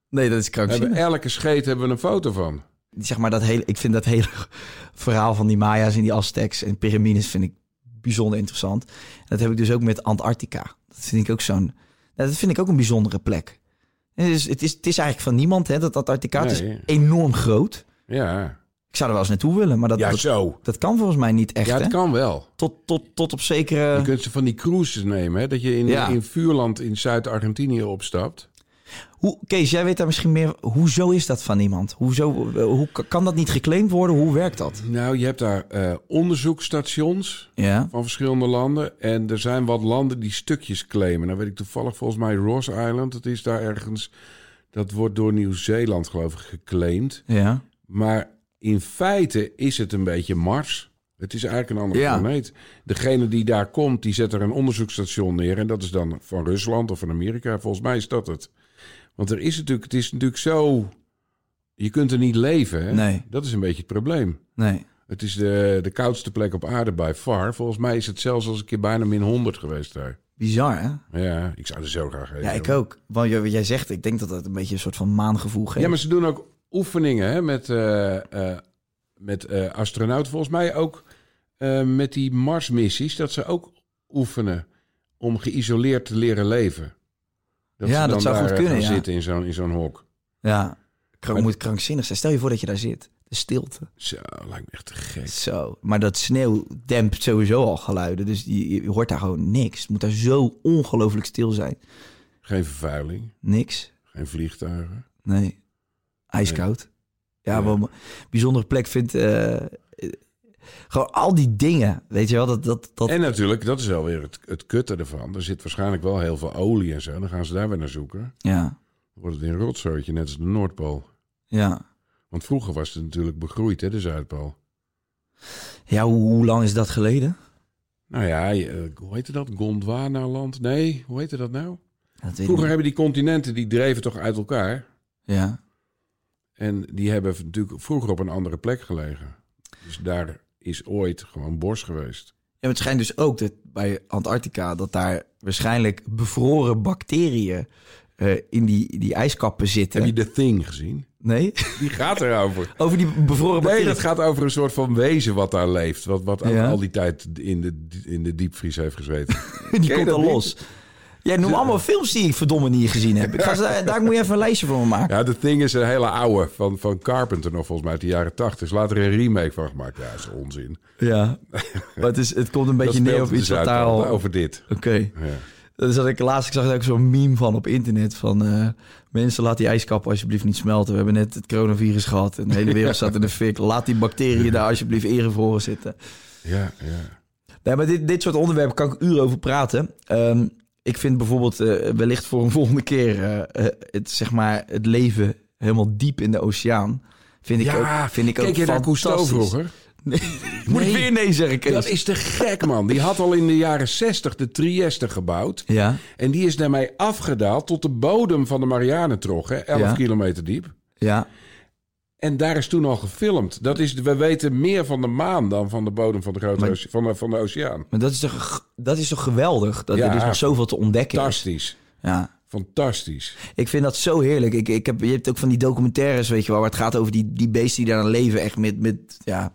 Nee, dat is We hebben krankzinnig. elke scheet hebben we een foto van. zeg maar dat hele, ik vind dat hele verhaal van die Maya's en die Aztecs en piramides vind ik bijzonder interessant. En dat heb ik dus ook met Antarctica. Dat vind ik ook zo'n, nou, dat vind ik ook een bijzondere plek. Het is, het is, het is eigenlijk van niemand, hè, dat Antarctica. Het Nee. is enorm groot. Ja, Ik zou er wel eens naartoe willen, maar dat, ja dat, zo. dat kan volgens mij niet echt. ja, hè? het kan wel. Tot, tot, tot op Je zekere... kunt ze van die cruises nemen, hè? Dat je in, Ja. in vuurland in Zuid-Argentinië opstapt. Hoe, Kees, jij weet daar misschien meer... Hoezo is dat van iemand? Hoezo, eh, hoe kan dat niet geclaimd worden? Hoe werkt dat? Nou, je hebt daar eh, onderzoekstations. Ja, van verschillende landen. En er zijn wat landen die stukjes claimen. Nou weet ik toevallig volgens mij Ross Island. Dat is daar ergens. Dat wordt door Nieuw-Zeeland geloof ik geclaimd. ja, Maar in feite is het een beetje Mars. Het is eigenlijk een andere Ja. planeet. Degene die daar komt, die zet er een onderzoeksstation neer. En dat is dan van Rusland of van Amerika. Volgens mij is dat het. Want er is natuurlijk, het is natuurlijk zo... Je kunt er niet leven, hè? Nee. Dat is een beetje het probleem. nee. Het is de, de koudste plek op aarde by far. Volgens mij is het zelfs als een keer bijna min 100 geweest daar. Bizar, hè? Ja, ik zou er zo graag heen. Ja, ik joh. ook. Want jij- wat jij zegt, ik denk dat dat een beetje een soort van maangevoel geeft. Ja, maar ze doen ook oefeningen hè, met, eh, eh, met eh, astronauten. Volgens mij ook eh, met die Marsmissies. Dat ze ook oefenen om geïsoleerd te leren leven. Ja, ze dat dan zou daar, goed eh, kunnen, gaan ja. zitten in zo'n, in zo'n hok. Ja. Krank- Maar- moet krankzinnig zijn. Stel je voor dat je daar zit. De stilte. Zo, lijkt me echt te gek. Zo. Maar dat sneeuw dempt sowieso al geluiden. Dus je, je hoort daar gewoon niks. Het moet daar zo ongelooflijk stil zijn. Geen vervuiling, Niks. geen vliegtuigen. Nee. Ijskoud. Ja, Ja. wel een bijzondere plek vindt... eh, eh, gewoon al die dingen. Weet je wel? Dat, dat, dat... En natuurlijk, dat is wel weer het, het kutte ervan. Er zit waarschijnlijk wel heel veel olie en zo. Dan gaan ze daar weer naar zoeken. Dan Ja. wordt het een rotzootje, net als de Noordpool. Ja. Want vroeger was het natuurlijk begroeid, hè, de Zuidpool. Ja, hoe, hoe lang is dat geleden? Nou ja, je, eh, hoe heette dat? Gondwanaland? Nee, hoe heette dat nou? Dat weet ik Vroeger niet. hebben die continenten, die dreven toch uit elkaar. Ja. En die hebben natuurlijk vroeger op een andere plek gelegen. Dus daar is ooit gewoon bos geweest. Ja, maar het schijnt dus ook dat bij Antarctica dat daar waarschijnlijk bevroren bacteriën eh, in die, die ijskappen zitten. Heb je The Thing gezien? Nee? Die gaat erover. Over die bevroren Nee, bacteriën. dat gaat over een soort van wezen wat daar leeft. Wat, wat al- Ja. al die tijd in de, in de diepvries heeft gezeten. die je komt dat al niet? los. Jij noemt allemaal films die ik verdomme niet gezien heb. Ik ga, ze- daar moet je even een lijstje voor me maken. Ja, The Thing is een hele oude van, van Carpenter nog volgens mij uit de jaren tachtig. Is later een remake van gemaakt. Ja, dat is onzin. Ja. Maar het, is, het komt een beetje Dat neer speelt dus op in de iets wat daar Zuidpool, al... Oké. Over dit. Ja. Dat is dat ik laatst, ik zag daar ook zo'n meme van op internet van eh, mensen laat die ijskappen alsjeblieft niet smelten. We hebben net het coronavirus gehad en de hele wereld staat in de fik. Laat die bacteriën daar alsjeblieft ingevroren zitten. Ja, ja. Nee, maar dit, dit soort onderwerpen kan ik uren over praten. Ehm, ik vind bijvoorbeeld eh, wellicht voor een volgende keer eh, eh, het, zeg maar, het leven helemaal diep in de oceaan. Vind ik Ja, ook, vind ik Kijk ook je naar Cousteau fantastisch. vroeger? Moet ik Nee. weer nee zeggen, Kees? Dat is te gek, man. Die had al in de jaren zestig de Trieste gebouwd. Ja, En die is daarmee afgedaald tot de bodem van de Marianentrog. hè, 11 Ja. kilometer diep. ja. En daar is toen al gefilmd. Dat is, we weten meer van de maan dan van de bodem van de, grote Maar- oce- van de, van de oceaan. Maar dat is toch, dat is toch geweldig? Dat er Ja. dus nog zoveel te ontdekken is. Fantastisch. Ja. Fantastisch. Ik vind dat zo heerlijk. Ik, ik heb, je hebt ook van die documentaires, weet je wel, waar het gaat over die, die beesten die daar aan leven. Echt met, met ja.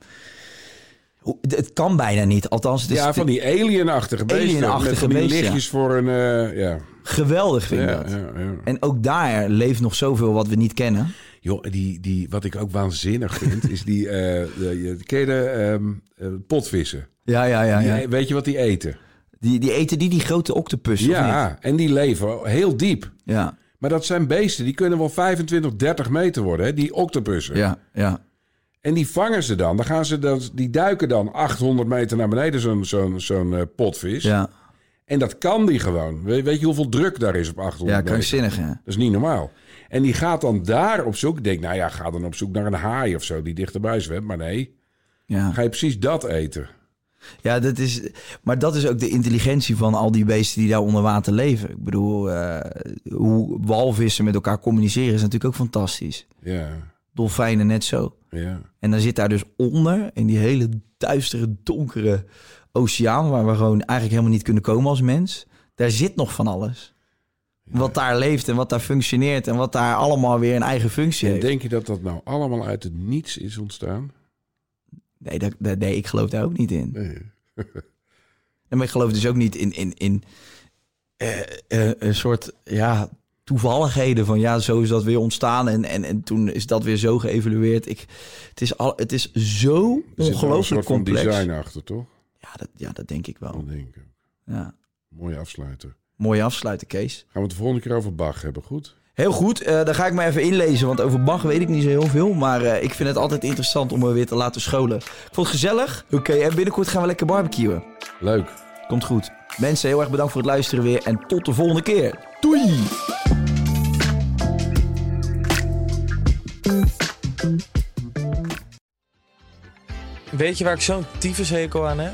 Hoe- d- Het kan bijna niet. Althans, het is ja, van die alienachtige beesten. Dus Alienachtige met van die beesten, ja. lichtjes voor een... eh, ja. geweldig, vind ik Ja, dat. ja, ja. En ook daar leeft nog zoveel wat we niet kennen. Joh, die, die, wat ik ook waanzinnig vind, is die... eh de, je- ken je de, ehm, eh, potvissen? Ja, ja, Ah, ja. Die- weet je wat die eten? Die, die eten die, die grote octopus, of niet? Ja, en die leven heel diep. Ja, Maar dat zijn beesten, die kunnen wel 25, 30 meter worden, hè? die octopussen. ja, ja. En die vangen ze dan. dan, gaan ze dan die duiken dan 800 meter naar beneden, zo'n zo'n zo'n eh, potvis. Ja, En dat kan die gewoon. We- weet je hoeveel druk daar is op 800 ja meter? krankzinnig, hè? Dat is niet normaal. En die gaat dan daar op zoek. Ik denk, nou ja, ga dan op zoek naar een haai of zo die dichterbij zwemt. Maar nee, Ja. ga je precies dat eten. Ja, dat is, maar dat is ook de intelligentie van al die beesten die daar onder water leven. Ik bedoel, eh, hoe walvissen met elkaar communiceren is natuurlijk ook fantastisch. Ja, Dolfijnen net zo. ja. En dan zit daar dus onder, in die hele duistere, donkere oceaan... waar we gewoon eigenlijk helemaal niet kunnen komen als mens. Daar zit nog van alles. Wat daar leeft en wat daar functioneert... en wat daar allemaal weer een eigen functie En heeft. denk je dat dat nou allemaal uit het niets is ontstaan? Nee, dat, dat- nee, ik geloof daar ook niet in. Nee. En maar ik geloof dus ook niet in, in, in eh, eh, een soort ja, toevalligheden van ja, zo is dat weer ontstaan en, en, en toen is dat weer zo geëvalueerd. Ik, het, is al, het is zo Er zit wel nou een ongelooflijk soort van complex. design achter, toch? Ja dat, ja, dat denk ik wel. Dan denk ik. Ja. Mooie afsluiter. Mooi afsluiten, Kees. Gaan we het de volgende keer over Bach hebben, goed? Heel goed, eh daar ga ik me even inlezen, want over Bach weet ik niet zo heel veel. Maar eh, ik vind het altijd interessant om me weer te laten scholen. Ik vond het gezellig. Oké, en binnenkort gaan we lekker barbecuen. Leuk. Komt goed. Mensen, heel erg bedankt voor het luisteren weer en tot de volgende keer. Doei! Weet je waar ik zo'n tyfushekel aan heb?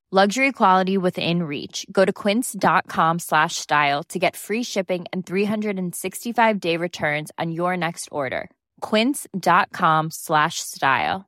Luxury quality within reach. Go to quince.com slash style to get free shipping and 365 day returns on your next order. Quince.com slash style.